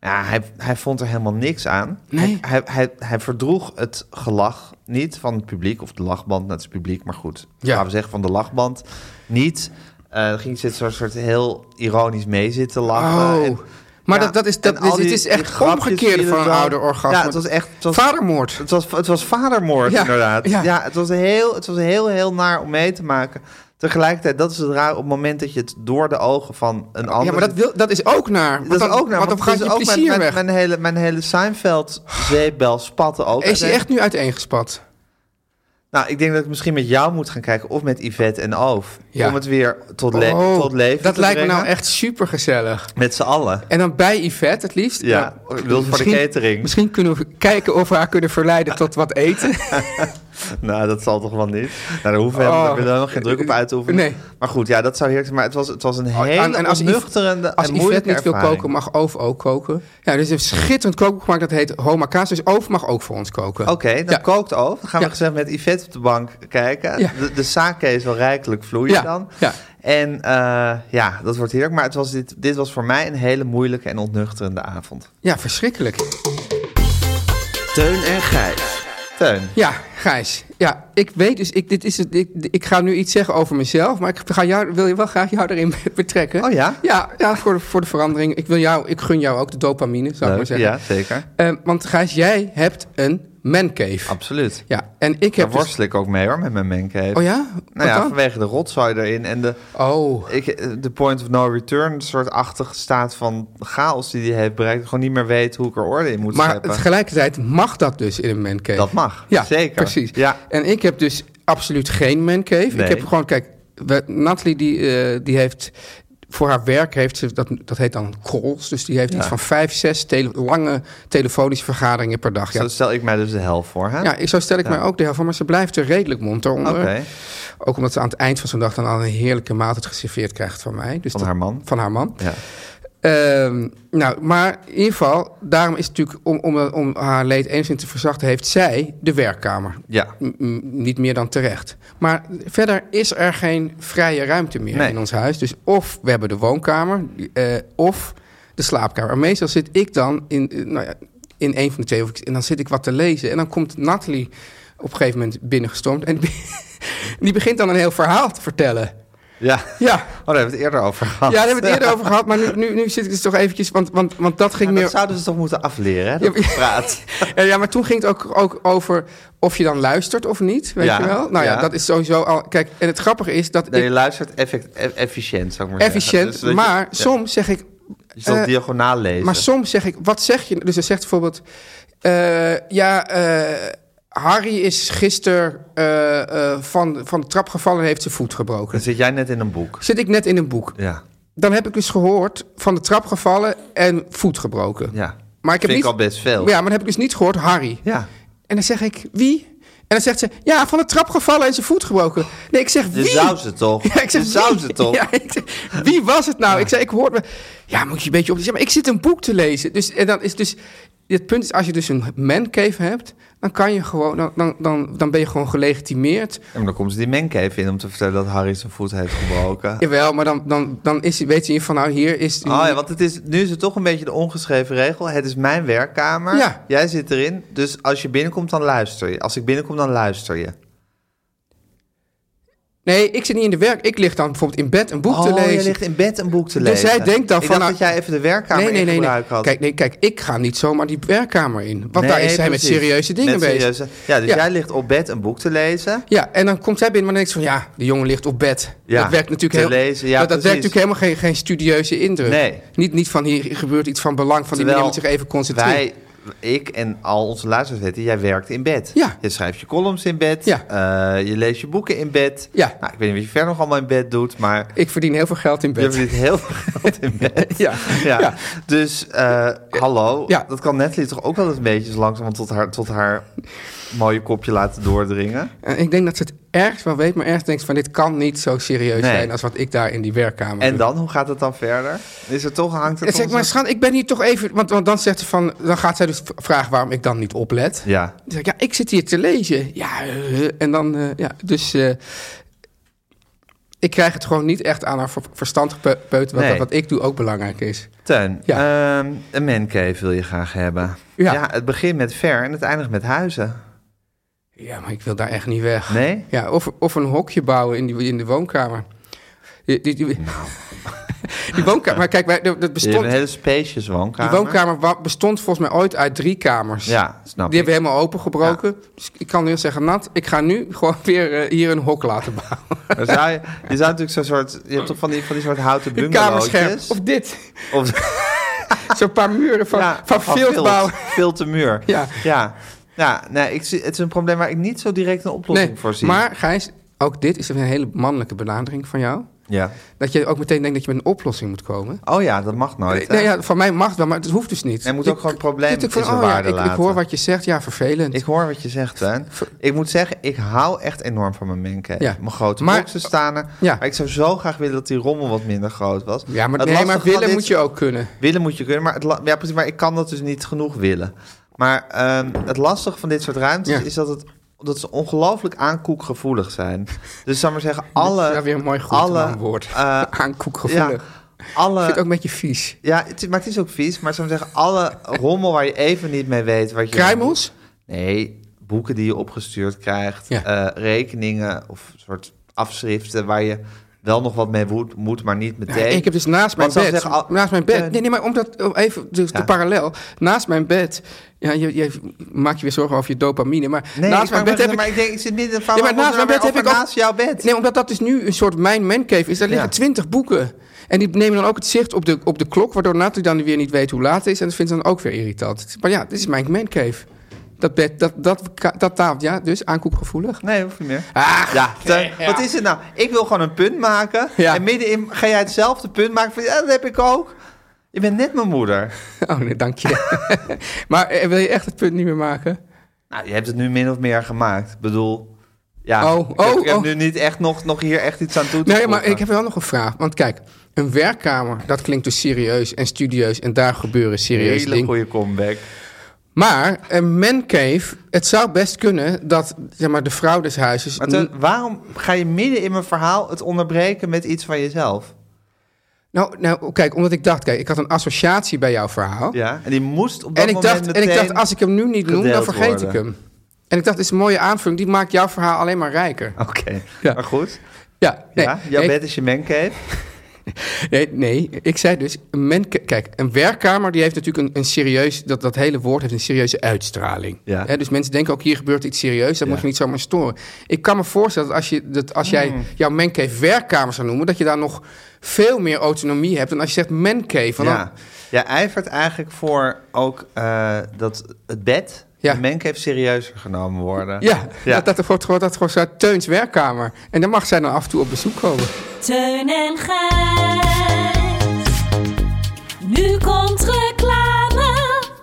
S1: Ja, hij, hij vond er helemaal niks aan.
S2: Nee.
S1: Hij, hij, hij, hij verdroeg het gelach niet van het publiek, of de lachband, dat is publiek, maar goed.
S2: Ja.
S1: Laten we zeggen van de lachband. Niet. Eh ging zit zo'n soort heel ironisch mee zitten lachen.
S2: Oh.
S1: En-
S2: Maar
S1: ja,
S2: dat, dat is,
S1: en
S2: dat
S1: al
S2: is,
S1: die-
S2: het is
S1: die
S2: echt
S1: grapjes
S2: omgekeerd
S1: die
S2: van
S1: er
S2: een
S1: dan-
S2: ouderorgasme.
S1: Ja, het was echt... Het was,
S2: Vadermoord.
S1: Het was, het was vadermoord,
S2: Ja,
S1: inderdaad.
S2: ja.
S1: Ja, het, was heel, het was heel, heel naar om mee te maken. Tegelijkertijd, dat is het raar op het moment dat je het door de ogen van een ander...
S2: Ja, maar dat, wil, dat is ook naar. Want
S1: Dat
S2: dan,
S1: is ook naar,
S2: want dan
S1: want
S2: gaat
S1: het
S2: je
S1: is ook
S2: plezier
S1: mijn, mijn,
S2: weg.
S1: mijn hele, mijn hele Seinfeld zeepbel spatte ook.
S2: is hij
S1: uiteen.
S2: echt nu uiteengespat?
S1: Nou, ik denk dat ik misschien met jou moet gaan kijken of met Yvette en Oof.
S2: Ja.
S1: Om het weer tot, le-
S2: Oh,
S1: tot leven
S2: dat
S1: te
S2: lijkt me
S1: brengen.
S2: nou echt super gezellig.
S1: Met z'n allen.
S2: En dan bij Yvette het liefst.
S1: Ja,
S2: Nou,
S1: ik bedoel, voor de
S2: misschien-
S1: catering.
S2: Misschien kunnen we kijken of we haar kunnen verleiden tot wat eten.
S1: Nou, dat zal toch wel niet. Nou, daar hoeven we
S2: Oh.
S1: daar willen we nog geen druk op uit te oefenen.
S2: Nee. Oh,
S1: Maar goed, ja, dat zou heerlijk Maar het was, het was een hele
S2: en- en als Yv-
S1: onnuchterende
S2: Als
S1: en
S2: Yvette
S1: moeilijke
S2: niet wil
S1: ervaring.
S2: koken, mag Oof ook koken. Ja, er is een schitterend kookboek gemaakt dat heet Homa Kaas. Dus Oof mag ook voor ons koken.
S1: Oké, dan
S2: Ja.
S1: kookt ook. Dan gaan we
S2: Ja.
S1: gezellig met Yvette op de bank kijken.
S2: Ja.
S1: De, de sake is wel rijkelijk vloeiend
S2: Ja,
S1: dan.
S2: ja.
S1: En eh, ja, dat wordt heerlijk. Maar het was dit, dit was voor mij een hele moeilijke en ontnuchterende avond.
S2: Ja, verschrikkelijk.
S3: Teun en Gijs.
S1: Teun,
S2: Ja, Gijs. Ja, ik weet dus, ik, dit is het, ik, ik ga nu iets zeggen over mezelf, maar ik ga jou, wil je wel graag jou erin betrekken.
S1: Oh ja?
S2: Ja, ja voor, de, voor de verandering. Ik, wil jou, ik gun jou ook de dopamine, zou ik maar
S1: leuk.
S2: zeggen.
S1: Ja, zeker. Ah.
S2: Eh, want Gijs, jij hebt een mancave.
S1: Absoluut.
S2: Ja, en ik
S1: Daar
S2: heb... dus-
S1: worstel ik ook mee hoor, met mijn mancave.
S2: oh ja? Wat
S1: Nou ja,
S2: dan?
S1: vanwege de rotzooi erin en de...
S2: Oh,
S1: Ik, eh, de point of no return, een soort achtige staat van chaos die hij heeft bereikt. Gewoon niet meer weet hoe ik er orde in moet
S2: maar
S1: scheppen.
S2: tegelijkertijd mag dat dus in een mancave.
S1: Dat mag,
S2: Ja,
S1: zeker.
S2: precies.
S1: Ja.
S2: En ik heb dus absoluut geen mancave. Ik
S1: Nee.
S2: heb gewoon, kijk, we, Natalie die, eh, die heeft... Voor haar werk heeft ze, dat, dat heet dan calls. Dus die heeft iets van vijf, zes tele- lange telefonische vergaderingen per dag. Ja,
S1: Zo stel ik mij dus de hel voor, hè?
S2: ja ik- zo stel ik
S1: Ja.
S2: mij ook de helft van. Maar ze blijft er redelijk monter onder.
S1: Oké,
S2: Ook omdat ze aan het eind van zo'n dag dan al een heerlijke maaltijd geserveerd krijgt van mij. Dus
S1: van
S2: dat-
S1: haar man.
S2: Van haar man.
S1: Ja.
S2: Ehm, nou, maar in ieder geval, daarom is het natuurlijk om, om, om haar leed enigszins te verzachten, heeft zij de werkkamer.
S1: ja.
S2: M- m- niet meer dan terecht. Maar verder is er geen vrije ruimte meer
S1: Nee.
S2: in ons huis. Dus of we hebben de woonkamer, eh, of de slaapkamer. En meestal zit ik dan in, eh, nou ja, in een van de twee, of ik- en dan zit ik wat te lezen. En dan komt Natalie op een gegeven moment binnengestormd en die begint dan een heel verhaal te vertellen.
S1: ja.
S2: Ja.
S1: Oh, daar hebben we het eerder over gehad.
S2: Ja, daar hebben we het eerder over gehad, maar nu, nu, nu zit ik dus toch eventjes... Want, want, want dat ging
S1: Ja,
S2: meer...
S1: Dat zouden ze toch moeten afleren, hè?
S2: Ja,
S1: Dat
S2: maar-
S1: praat.
S2: Ja, ja, maar toen ging het ook, ook over of je dan luistert of niet, weet
S1: Ja,
S2: je wel? Nou ja,
S1: ja.
S2: dat is sowieso al... Kijk, en het grappige is dat
S1: Nee, je
S2: ik
S1: luistert effect, eff- efficiënt, zou ik maar
S2: efficiënt...
S1: zeggen. Dus dat je-
S2: maar
S1: ja,
S2: soms zeg ik...
S1: je zal
S2: eh,
S1: diagonaal lezen.
S2: maar soms zeg ik, wat zeg je? Dus dan zegt bijvoorbeeld... eh, ja, eh, Harry is gisteren eh, eh, van, van de trap gevallen en heeft zijn voet
S1: Dan
S2: gebroken.
S1: zit jij net in een boek.
S2: Zit ik net in een boek.
S1: Ja,
S2: Dan heb ik dus gehoord van de trap gevallen en voet gebroken.
S1: ja.
S2: Maar ik heb
S1: Vind
S2: niet...
S1: ik al best veel.
S2: Ja, maar dan heb ik dus niet gehoord Harry.
S1: Ja.
S2: En dan zeg ik, wie? En dan zegt ze, ja, van de trap gevallen en zijn voet gebroken. Nee, ik zeg,
S1: Je
S2: wie?
S1: zou ze toch?
S2: Ja, ik zeg,
S1: je zou
S2: wie?
S1: ze toch?
S2: Ja, ik zeg, wie was het nou? Ik zei, ik hoorde me... Ja, moet je een beetje op... Ik zeg, maar ik zit een boek te lezen. Dus, en dan is dus... Het punt is, als je dus een mancave hebt... dan kan je gewoon... Dan, dan, dan, dan ben je gewoon gelegitimeerd.
S1: Ja, maar dan komt ze die mancave in om te vertellen dat Harry zijn voet heeft gebroken.
S2: Jawel, maar dan, dan, dan is, weet je van... Nou, hier is...
S1: Oh ja, want het is, nu is het toch een beetje de ongeschreven regel. Het is mijn werkkamer.
S2: Ja.
S1: Jij zit erin. Dus als je binnenkomt, dan luister je. Als ik binnenkom, dan luister je.
S2: Nee, ik zit niet in de werk. Ik lig dan bijvoorbeeld in bed een boek te lezen.
S1: Oh, je ligt in bed een boek te
S2: Dus
S1: lezen.
S2: zij denkt dan
S1: ik
S2: van,
S1: dacht dat
S2: nou-
S1: jij even de werkkamer in gebruik had.
S2: Kijk, nee, kijk, ik ga niet zomaar die werkkamer in. Want
S1: Nee,
S2: daar is hij met
S1: precies.
S2: serieuze dingen
S1: Met
S2: bezig.
S1: serieuze- Ja, dus
S2: Ja.
S1: jij ligt op bed een boek te lezen.
S2: Ja, en dan komt zij binnen, maar dan denk ik van ja, de jongen ligt op bed.
S1: Ja,
S2: dat werkt natuurlijk
S1: te
S2: heel,
S1: lezen, ja,
S2: dat, dat werkt
S1: precies.
S2: natuurlijk helemaal geen, geen studieuze indruk.
S1: Nee.
S2: Niet, niet van hier gebeurt iets van belang, van die
S1: Terwijl
S2: meneer moet zich even concentreren.
S1: Wij, ik en al onze luisteraars weten, jij werkt in bed.
S2: Ja.
S1: Je schrijft je columns in bed.
S2: Ja.
S1: Eh, je leest je boeken in bed.
S2: Ja.
S1: Nou, ik weet niet wat je verder nog allemaal in bed doet, maar...
S2: Ik verdien heel veel geld in
S1: Je
S2: bed.
S1: verdient heel veel geld in bed.
S2: Ja,
S1: Ja.
S2: ja.
S1: Dus eh, hallo,
S2: Ja.
S1: dat kan Natalie toch ook wel eens een beetje zo langzaam tot haar, tot haar mooie kopje laten doordringen.
S2: En ik denk dat ze het ergens wel weet, maar ergens denkt ze van dit kan niet zo serieus
S1: Nee.
S2: zijn als wat ik daar in die werkkamer
S1: En
S2: doe.
S1: dan, hoe gaat het dan verder? Is het toch, hangt
S2: En
S1: het
S2: zeg
S1: toch
S2: maar, schat, ik ben hier toch even... Want, want dan zegt ze van... Dan gaat zij dus v- vragen waarom ik dan niet oplet.
S1: Ja,
S2: Dan zeg ik, ja, ik zit hier te lezen. Ja, eh, en dan... eh, ja, dus... eh, ik krijg het gewoon niet echt aan haar ver- verstand gepeut... Wat,
S1: Nee.
S2: wat ik doe ook belangrijk is.
S1: Teun,
S2: Ja.
S1: ehm, een mancave wil je graag hebben. Ja.
S2: Ja.
S1: het begint met ver en het eindigt met huizen.
S2: Ja, maar ik wil daar echt niet weg.
S1: Nee?
S2: Ja, of, of een hokje bouwen in, die, in de woonkamer. Die, die, die, die woonkamer, maar kijk, wij- dat
S1: Nou. Je hebt
S2: bestond,
S1: een hele spacious woonkamer.
S2: die woonkamer wa- bestond volgens mij ooit uit drie kamers.
S1: Ja, snap
S2: Die
S1: ik.
S2: hebben we helemaal opengebroken. Dus ik kan nu zeggen, Nat, ik ga nu gewoon weer eh, hier een hok laten bouwen.
S1: Maar zou je, je zou natuurlijk zo'n soort... Je hebt toch van die, van die soort houten
S2: Een kamerscherm.
S1: bungalowtjes?
S2: Of dit.
S1: Of-
S2: Zo'n paar muren van,
S1: ja,
S2: van vilt bouwen.
S1: Vilt en muur.
S2: Ja.
S1: Ja, ja nee, ik zie, het is een probleem waar ik niet zo direct een oplossing
S2: Nee,
S1: voor zie.
S2: maar Gijs, ook dit is een hele mannelijke benadering van jou.
S1: Ja.
S2: Dat je ook meteen denkt dat je met een oplossing moet komen.
S1: Oh ja, dat mag nooit. hè?
S2: Nee, ja, van mij mag dat, maar het hoeft dus niet.
S1: Hij moet
S2: Je-
S1: ook gewoon het probleem
S2: je denkt van,
S1: in zijn
S2: oh ja,
S1: waarde
S2: ik, ik
S1: laten.
S2: hoor wat je zegt, ja, vervelend.
S1: Ik hoor wat je zegt, Teun. Ik moet zeggen, ik hou echt enorm van mijn mancave.
S2: Ja.
S1: Mijn grote
S2: Maar-
S1: boxen staan er.
S2: Ja.
S1: Maar ik zou zo graag willen dat die rommel wat minder groot was.
S2: ja, maar,
S1: Het
S2: nee,
S1: lastige
S2: maar
S1: van
S2: willen
S1: dit-
S2: moet je ook kunnen.
S1: Willen moet je kunnen, maar, het la- ja, precies, maar ik kan dat dus niet genoeg willen. Maar ehm, het lastige van dit soort ruimtes
S2: Ja.
S1: is dat, het, dat ze ongelooflijk aankoekgevoelig zijn. Dus zal ik maar zeggen, alle...
S2: dat is weer een mooi goed
S1: alle,
S2: woord.
S1: eh, ja,
S2: Aankoekgevoelig.
S1: alle,
S2: Ik vind het ook een beetje vies.
S1: ja, het, is- maar het is ook vies. Maar zou ik maar zeggen, alle rommel waar je even niet mee weet... Wat je
S2: Kruimels?
S1: Nee, boeken die je opgestuurd krijgt,
S2: Ja.
S1: eh, rekeningen of soort afschriften waar je wel nog wat mee moet, moet maar niet meteen.
S2: ik heb dus naast mijn
S1: Want
S2: bed,
S1: dan zeggen al-
S2: naast mijn
S1: Eh,
S2: bed, nee, nee, maar omdat, oh, even dus
S1: Ja.
S2: de parallel, naast mijn bed, ja, je, je maakt je weer zorgen over je dopamine, maar
S1: Nee,
S2: naast mijn bed heb ik,
S1: maar ik denk, ik zit midden in een
S2: nee,
S1: verhaal,
S2: maar naast
S1: waarom
S2: mijn bed
S1: komt
S2: heb
S1: er
S2: ik
S1: nou
S2: ook,
S1: weer over naast jouw bed.
S2: nee, omdat dat dus nu een soort mijn mancave is, daar liggen
S1: Ja.
S2: twintig boeken en die nemen dan ook het zicht op de, op de klok, waardoor Natalie dan weer niet weet hoe laat het is en dat vindt ze dan ook weer irritant. Maar ja, dit is mijn mancave. Dat bed, dat, dat, dat, taalt, ja, dus aankoekgevoelig.
S1: Nee, hoeft niet meer.
S2: Ah,
S1: Ja, Teun, wat is het nou? Ik wil gewoon een punt maken.
S2: Ja.
S1: En middenin ga jij hetzelfde punt maken. Van, ja, dat heb ik ook. Je bent net mijn moeder.
S2: Oh, nee, dank je. maar eh, wil je echt het punt niet meer maken?
S1: Nou, je hebt het nu min of meer gemaakt. Ik bedoel, ja,
S2: Oh,
S1: ik heb,
S2: oh,
S1: ik heb
S2: oh.
S1: nu niet echt nog, nog hier echt iets aan toe te
S2: Nee, maar
S1: voegen.
S2: ik heb wel nog een vraag. Want kijk, een werkkamer, dat klinkt dus serieus en studieus. En daar gebeuren serieus
S1: Hele
S2: dingen.
S1: goede comeback.
S2: Maar een mancave, het zou best kunnen dat zeg maar, de vrouw des huizes...
S1: Maar Teun, waarom ga je midden in mijn verhaal het onderbreken met iets van jezelf?
S2: nou, nou, kijk, omdat ik dacht, kijk, ik had een associatie bij jouw verhaal.
S1: Ja. En die moest op dat
S2: en, ik
S1: moment
S2: dacht, en ik
S1: meteen-
S2: dacht, als ik hem nu niet noem, dan
S1: gedeeld
S2: vergeet
S1: worden.
S2: ik hem. En ik dacht, dit is een mooie aanvulling, die maakt jouw verhaal alleen maar rijker.
S1: Oké,
S2: Ja.
S1: maar goed.
S2: Ja, nee,
S1: Ah. ja, jouw
S2: nee,
S1: bed is je mancave.
S2: Nee, nee, ik zei dus, een men, kijk, een werkkamer die heeft natuurlijk een, een serieus, dat, dat hele woord heeft een serieuze uitstraling.
S1: Ja.
S2: Hè, dus mensen denken ook hier gebeurt iets serieus, dat
S1: Ja.
S2: moet je niet zomaar storen. Ik kan me voorstellen dat als, je, dat als jij jouw mancave werkkamer zou noemen, dat je daar nog veel meer autonomie hebt dan als je zegt mancave. Want
S1: Ja.
S2: dan-
S1: Jij ijvert eigenlijk voor ook eh, dat het bed,
S2: Ja.
S1: de mancave, serieuzer genomen worden.
S2: ja, Dat, dat, wordt gewoon- dat wordt gewoon Teuns werkkamer. En dan mag zij dan af en toe op bezoek komen.
S5: Teun en Gijs. Nu komt reclame.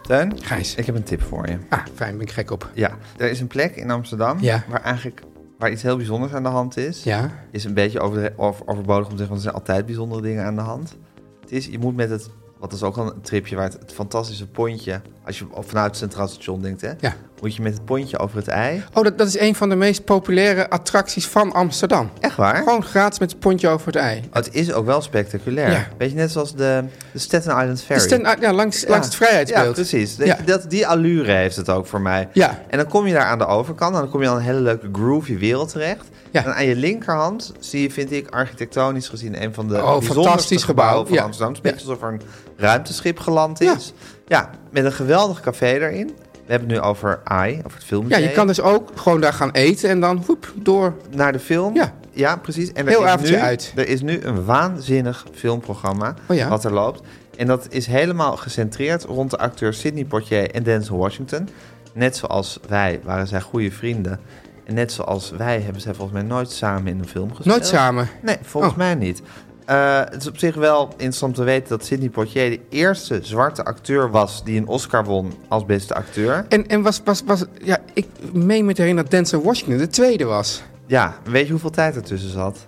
S1: Teun,
S2: Gijs.
S1: ik heb een tip voor je.
S2: Ah, fijn, ben ik gek op.
S1: Ja, er is een plek in Amsterdam
S2: Ja.
S1: waar eigenlijk waar iets heel bijzonders aan de hand is.
S2: Ja,
S1: is een beetje over, over, overbodig om te zeggen, want er zijn altijd bijzondere dingen aan de hand. Het is, je moet met het, wat is ook al een tripje waar het, het fantastische pontje, als je vanuit het Centraal Station denkt, hè,
S2: ja.
S1: moet je met het pontje over het ei.
S2: Oh, dat, dat is een van de meest populaire attracties van Amsterdam.
S1: Echt waar?
S2: Gewoon gratis met het pontje over het ei.
S1: Het is ook wel spectaculair.
S2: Ja.
S1: Weet je, net zoals de, de Staten Island Ferry.
S2: Dus ten- ja, langs,
S1: Ja.
S2: langs het
S1: Ja,
S2: vrijheidsbeeld.
S1: precies.
S2: Ja.
S1: Dat, die allure heeft het ook voor mij.
S2: Ja.
S1: En dan kom je daar aan de overkant en dan kom je aan een hele leuke groovy wereld terecht.
S2: Ja.
S1: En aan je linkerhand zie je, vind ik, architectonisch gezien een van de
S2: Oh,
S1: bijzonderste
S2: fantastisch gebouw.
S1: gebouwen van
S2: Ja.
S1: Amsterdam. Het is een beetje alsof er een ruimteschip geland is. Ja. met een geweldig café erin. We hebben het nu over AI, over het
S2: Ja,
S1: filmmuseum.
S2: je kan dus ook gewoon daar gaan eten en dan hoep, door.
S1: Naar de film.
S2: Ja.
S1: precies. En er
S2: Heel
S1: is
S2: avondje
S1: nu,
S2: uit.
S1: Er is nu een waanzinnig filmprogramma
S2: Oh ja.
S1: wat er loopt. En dat is helemaal gecentreerd rond de acteurs Sidney Poitier en Denzel Washington. Net zoals wij waren zij goede vrienden. En net zoals wij hebben zij volgens mij nooit samen in een film gespeeld.
S2: Nooit samen.
S1: Nee, volgens
S2: Oh.
S1: mij niet. eh, het is op zich wel interessant te weten dat Sidney Poitier de eerste zwarte acteur was die een Oscar won als beste acteur.
S2: En, en was, was, was, ja, ik meen me te herinneren dat Denzel Washington de tweede was.
S1: Ja, weet je hoeveel tijd ertussen zat?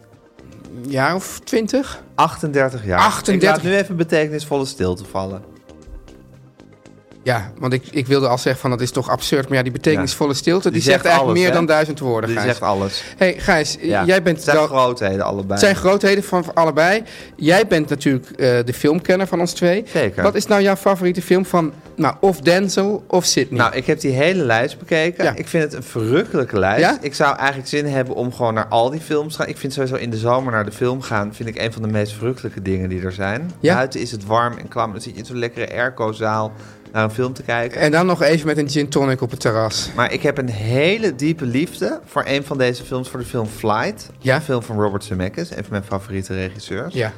S2: Een jaar of twintig?
S1: 38 jaar.
S2: 38.
S1: Ik laat nu even betekenisvolle stilte vallen.
S2: Ja, want ik, ik wilde al zeggen van dat is toch absurd. Maar ja, die betekenisvolle stilte, die,
S1: Die
S2: zegt,
S1: zegt
S2: eigenlijk
S1: alles,
S2: meer
S1: hè?
S2: dan duizend woorden,
S1: Die
S2: Gijs.
S1: zegt alles.
S2: hey, Gijs,
S1: Ja.
S2: jij bent
S1: het zijn
S2: wel-
S1: grootheden allebei.
S2: Het zijn grootheden van van allebei. Jij bent natuurlijk eh, de filmkenner van ons twee.
S1: Zeker.
S2: Wat is nou jouw favoriete film van, nou, of Denzel of Sydney?
S1: Nou, ik heb die hele lijst bekeken.
S2: Ja.
S1: Ik vind het een verrukkelijke lijst.
S2: Ja?
S1: Ik zou eigenlijk zin hebben om gewoon naar al die films te gaan. Ik vind sowieso in de zomer naar de film gaan... vind ik een van de meest verrukkelijke dingen die er zijn.
S2: Ja?
S1: Buiten is het warm en klam. Dan zit je in zo'n lekkere airco-zaal naar een film te kijken.
S2: En dan nog even met een gin tonic op het terras.
S1: Maar ik heb een hele diepe liefde voor een van deze films, voor de film Flight.
S2: Ja.
S1: Een film van Robert Zemeckis, een van mijn favoriete regisseurs.
S2: Ja.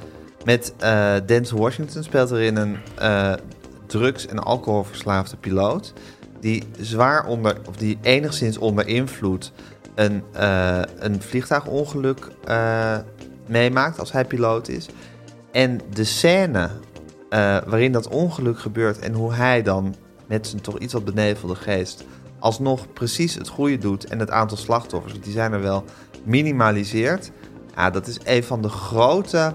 S1: Met eh, Denzel Washington speelt erin een eh, drugs- en alcoholverslaafde piloot. Die zwaar onder, of die enigszins onder invloed een, eh, een vliegtuigongeluk eh, meemaakt als hij piloot is. En de scène eh, waarin dat ongeluk gebeurt en hoe hij dan met zijn toch iets wat benevelde geest alsnog precies het goede doet en het aantal slachtoffers, want die zijn er wel, minimaliseert. Ja, dat is een van de grote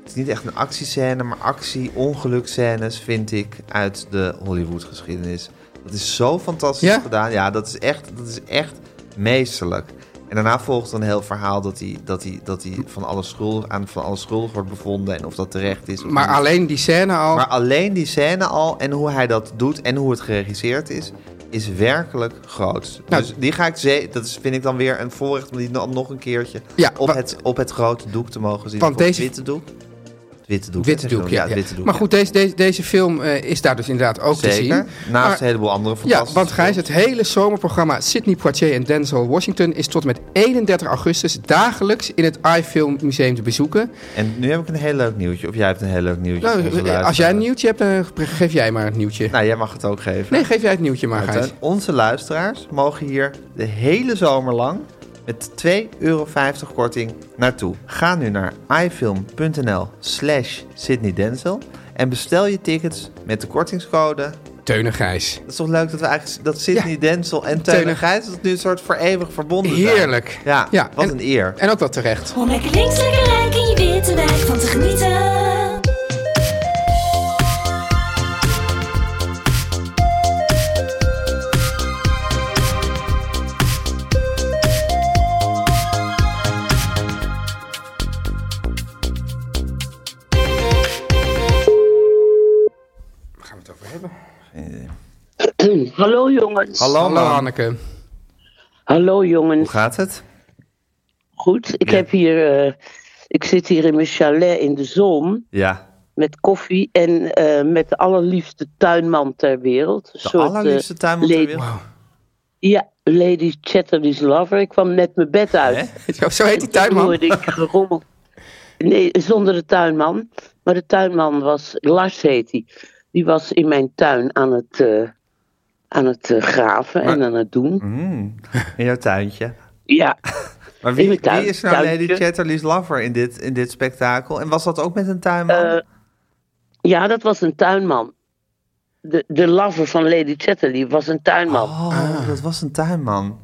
S1: het is niet echt een actiescène, maar actie-ongelukscènes vind ik uit de Hollywood-geschiedenis. Dat is zo fantastisch
S2: Ja?
S1: gedaan. Ja, dat is, echt, dat is echt meesterlijk. En daarna volgt een heel verhaal dat hij, dat hij, dat hij van alles schuldig, aan van alles schuldig wordt bevonden en of dat terecht is. of
S2: Maar
S1: niet.
S2: alleen die scène al.
S1: maar alleen die scène al en hoe hij dat doet en hoe het geregisseerd is, is werkelijk groot.
S2: Nou,
S1: dus die ga ik ze dat is, vind ik dan weer een voorrecht om die no- nog een keertje
S2: Ja,
S1: op,
S2: wa-
S1: het, op het grote doek te mogen zien.
S2: Want
S1: Of op het
S2: deze-
S1: witte doek. Het witte doek.
S2: Witte
S1: hè, zeg
S2: doek,
S1: je wel.
S2: ja.
S1: het
S2: ja.
S1: witte doek,
S2: maar
S1: ja.
S2: goed, deze, deze, deze film eh, is daar dus inderdaad ook te zien.
S1: zeker. Naast
S2: Maar-
S1: een heleboel andere
S2: Ja,
S1: fantastische
S2: want Gijs,
S1: films.
S2: het hele zomerprogramma Sydney Poitier en Denzel Washington is tot en met 31 augustus dagelijks in het iFilm Museum te bezoeken.
S1: En nu heb ik een heel leuk nieuwtje. Of jij hebt een heel leuk nieuwtje. voor onze
S2: Nou, eh, als jij een
S1: luisteraars.
S2: nieuwtje hebt, dan geef jij maar het nieuwtje.
S1: Nou, jij mag het ook geven.
S2: Nee, geef jij het nieuwtje maar,
S1: Martijn,
S2: Gijs.
S1: onze luisteraars mogen hier de hele zomer lang met 2,50 euro korting naartoe. Ga nu naar ifilm.nl slash Sydney Denzel en bestel je tickets met de kortingscode.
S2: Teun en Gijs.
S1: Dat is toch leuk dat we eigenlijk dat Sydney Denzel en Teun
S2: Teun-
S1: en Gijs dat nu een soort voor eeuwig verbonden zijn.
S2: Heerlijk.
S1: Ja,
S2: Ja,
S1: wat
S2: en-
S1: een eer.
S2: En ook wel terecht.
S5: Om lekker links, lekker rijk in je witte wijk van te genieten.
S2: Waar gaan we het over hebben?
S6: Hallo jongens.
S1: Eh, Hallo,
S2: Hallo
S1: man.
S2: Anneke.
S6: Hallo jongens.
S1: Hoe gaat het?
S6: Goed, ik heb hier. eh, ik zit hier in mijn chalet in de zon
S1: Ja,
S6: met koffie en eh, met de allerliefste tuinman ter wereld. eh,
S1: de allerliefste tuinman ter wereld.
S6: Ja, Lady Chatterley's Lover. Ik kwam net mijn bed uit.
S1: Hè?
S2: Zo, zo heet die
S6: Toen
S2: tuinman.
S6: hoorde ik gerommel. Nee, zonder de tuinman. Maar de tuinman was, Lars heet hij. Die was in mijn tuin aan het, eh, aan het eh, graven en aan het doen.
S1: Mhm. In jouw tuintje.
S6: Ja,
S1: Maar
S6: In
S1: wie,
S6: mijn tuin-
S1: wie is nou
S6: tuintje.
S1: Lady Chatterley's lover in dit, in dit spektakel? En was dat ook met een tuinman?
S6: Eh, ja, dat was een tuinman. De, de lover van Lady Chatterley was een tuinman.
S1: Oh,
S2: Ah.
S1: dat was een tuinman.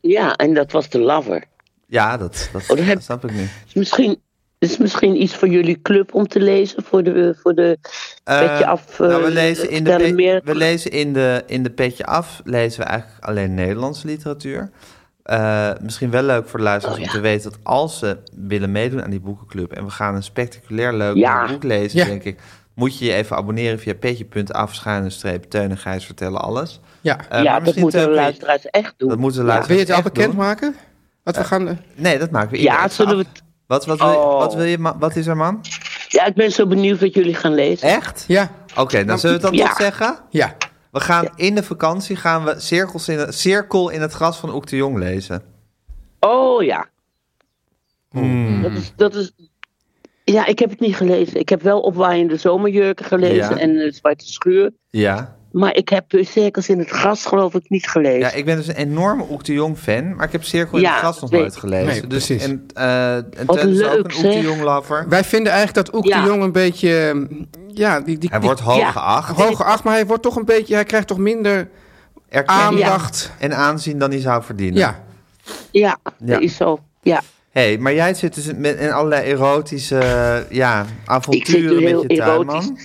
S6: Ja, en dat was de lover.
S1: Ja, dat, dat,
S6: dat Oh, heb-
S1: dat snap ik nu.
S6: Dus misschien, is misschien iets voor jullie club om te lezen voor de, voor de petje af.
S1: nou, we
S6: eh,
S1: lezen, in de,
S6: stellen
S1: pe-
S6: meer-
S1: we lezen in, de, in de petje af lezen we eigenlijk alleen Nederlandse literatuur. Eh, misschien wel leuk voor de luisteraars
S6: Oh,
S1: om te weten dat als ze willen meedoen aan die boekenclub en we gaan een spectaculair leuk
S6: Ja.
S1: boek lezen,
S2: Ja.
S1: denk ik, moet je je even abonneren via petje.af streep Teun en Gijs vertellen alles.
S2: Ja.
S1: Eh, maar
S6: ja, dat
S1: misschien
S6: moeten de
S1: Teun, kun je-
S6: luisteraars echt doen.
S1: Dat moeten de
S6: Ja.
S2: Wil
S1: luisteraars
S2: je het al
S1: echt doen.
S2: bekendmaken? Wat we gaan... eh,
S1: Nee, dat maken we
S6: Ja,
S1: iedere keer
S6: zullen we
S1: af.
S6: het-
S1: Wat, wat, wil je-
S6: Oh.
S1: wat, wil je, ma- wat is er, man?
S6: Ja, ik ben zo benieuwd wat jullie gaan lezen.
S1: Echt?
S2: Ja,
S1: Oké, dan zullen we het dan
S6: Ja.
S1: toch zeggen.
S2: ja.
S1: We gaan in de vakantie gaan we cirkels in het, Cirkel in het gras van Oek de Jong lezen.
S6: Oh ja.
S1: Hmm.
S6: Dat, is, dat is. Ja, ik heb het niet gelezen. Ik heb wel Opwaaiende Zomerjurken gelezen
S1: Ja.
S6: en eh, Zwarte Schuur.
S1: Ja.
S6: Maar ik heb eh, cirkels in het gras geloof ik niet gelezen.
S1: Ja, ik ben dus een enorme Oek de Jong fan, maar ik heb Cirkel in
S6: Ja,
S1: het Gras nog
S6: weet
S1: nooit
S6: ik.
S1: gelezen.
S2: Nee,
S1: dus,
S2: precies.
S1: En, eh en
S6: Wat
S1: Teun is ook
S6: leuk,
S1: een Oek de
S6: zeg.
S1: Jong lover.
S2: Wij vinden eigenlijk dat ook
S6: Ja.
S2: de jong een beetje... mm, Ja, die, die,
S1: Hij
S2: die
S1: wordt hoog
S6: Ja.
S1: geacht,
S2: hoge acht, maar hij wordt toch een beetje... Hij krijgt toch minder
S1: erkenning
S2: aandacht.
S1: en aanzien dan hij zou verdienen.
S2: Ja,
S6: Ja,
S1: Ja.
S6: dat is zo. Ja,
S1: hey, maar jij zit dus met, in allerlei erotische eh, ja,
S6: Ik zit nu
S1: avonturen met
S6: heel
S1: je tuinman.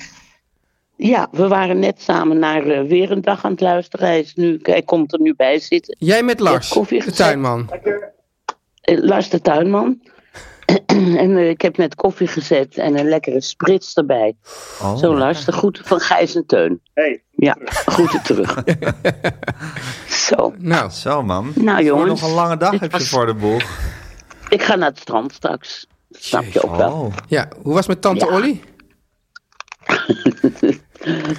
S6: ja, we waren net samen naar eh, weer een dag aan het luisteren. Hij, is nu, hij komt er nu bij zitten.
S2: jij met Lars,
S6: Ja, koffie
S2: de
S6: gezet.
S2: tuinman.
S6: Eh, Lars de tuinman. en eh, ik heb net koffie gezet en een lekkere sprits erbij.
S1: Oh.
S6: Zo Lars, de groeten van Gijs en Teun.
S7: Hey,
S6: Ja, groeten terug. Zo.
S2: Nou,
S1: Zo man.
S6: Nou
S1: Voor
S6: jongens.
S1: nog een lange dag
S6: dit
S1: heb je
S6: was-
S1: voor de boeg.
S6: Ik ga naar het strand straks. Snap je ook wel.
S1: Oh.
S2: ja, hoe was het met tante
S6: Ja.
S2: Olly?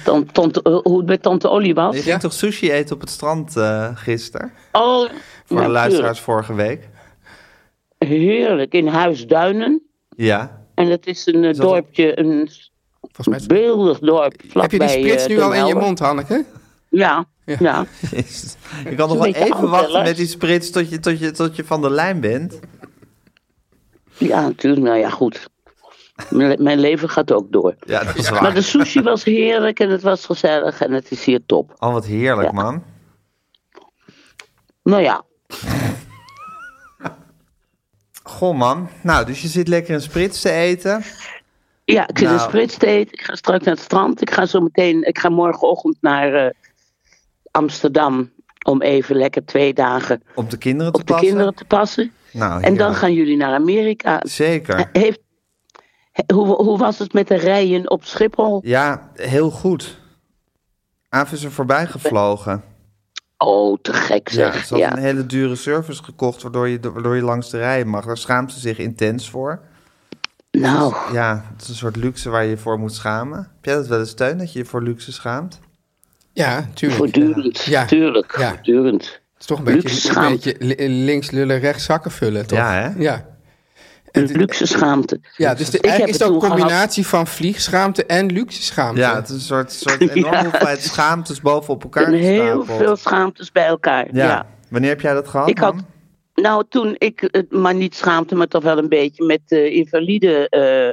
S6: Tan- tante, eh, hoe het met tante Olly was.
S1: Je ging toch sushi eten op het strand eh gisteren?
S6: Oh,
S1: Voor de luisteraars vorige week.
S6: Heerlijk, in Huisduinen.
S1: Ja.
S6: En dat is een eh,
S1: dat-
S6: dorpje, een
S2: Volgens mij... is-
S6: beeldig dorp.
S2: Heb je die
S6: vlakbij,
S2: splits
S6: eh,
S2: nu
S6: Den
S2: al in je
S6: Helder.
S2: mond, Hanneke?
S6: Ja, ja.
S1: Jezus. Je kan nog wel
S6: beetje
S1: even
S6: oud, hè,
S1: wachten
S6: Lars?
S1: met die sprits tot je, tot, je, tot je van de lijn bent.
S6: Ja, natuurlijk. Nou ja, goed. Mijn le- Mijn leven gaat ook door.
S1: Ja, dat is
S6: Maar dus-
S1: waar.
S6: de sushi was heerlijk en het was gezellig en het is hier top.
S1: Oh, wat heerlijk, man.
S6: Nou ja,
S1: Goh, man. Nou, dus je zit lekker een sprits te eten.
S6: ja ik zit
S1: Nou.
S6: in Spritsteed. Ik ga straks naar het strand. Ik ga zo meteen, ik ga morgenochtend naar eh, Amsterdam om even lekker twee dagen
S1: Om de kinderen te
S6: op de
S1: passen.
S6: kinderen te passen.
S1: Nou,
S6: En dan
S1: heerlijk.
S6: gaan jullie naar Amerika.
S1: Zeker.
S6: Heeft, he- hoe, hoe was het met de rijen op Schiphol?
S1: Ja, heel goed. Aaf is er voorbij gevlogen.
S6: Oh, te gek
S1: Ja,
S6: zeg.
S1: ze
S6: Ja,
S1: had een hele dure service gekocht, waardoor je, waardoor je langs de rij mag. Daar schaamt ze zich intens voor.
S6: Nou,
S1: Ja, het is een soort luxe waar je je voor moet schamen. Heb jij dat wel eens, Teun, dat je je voor luxe schaamt?
S2: Ja, tuurlijk.
S6: voortdurend.
S2: Ja.
S6: Tuurlijk,
S2: Ja.
S6: voortdurend.
S2: Het is toch een beetje,
S6: Luxe
S2: een
S6: schaamte.
S2: beetje li- links lullen, rechts zakken vullen, toch?
S1: Ja, hè?
S2: Ja,
S6: Een luxe schaamte.
S2: ja dus de,
S6: Ik heb
S2: eigenlijk is
S6: het
S2: dat een
S6: toen gehad-
S2: combinatie van vliegschaamte en luxe schaamte.
S1: Ja, het is een soort, soort enorme
S6: Ja.
S1: hoeveelheid schaamtes bovenop elkaar
S6: En heel
S1: gestapeld.
S6: veel schaamtes bij elkaar.
S1: Ja.
S6: Ja.
S1: Wanneer heb jij dat gehad?
S6: Ik had,
S1: man?
S6: nou, toen ik, eh, maar niet schaamte, maar toch wel een beetje met de invalide eh,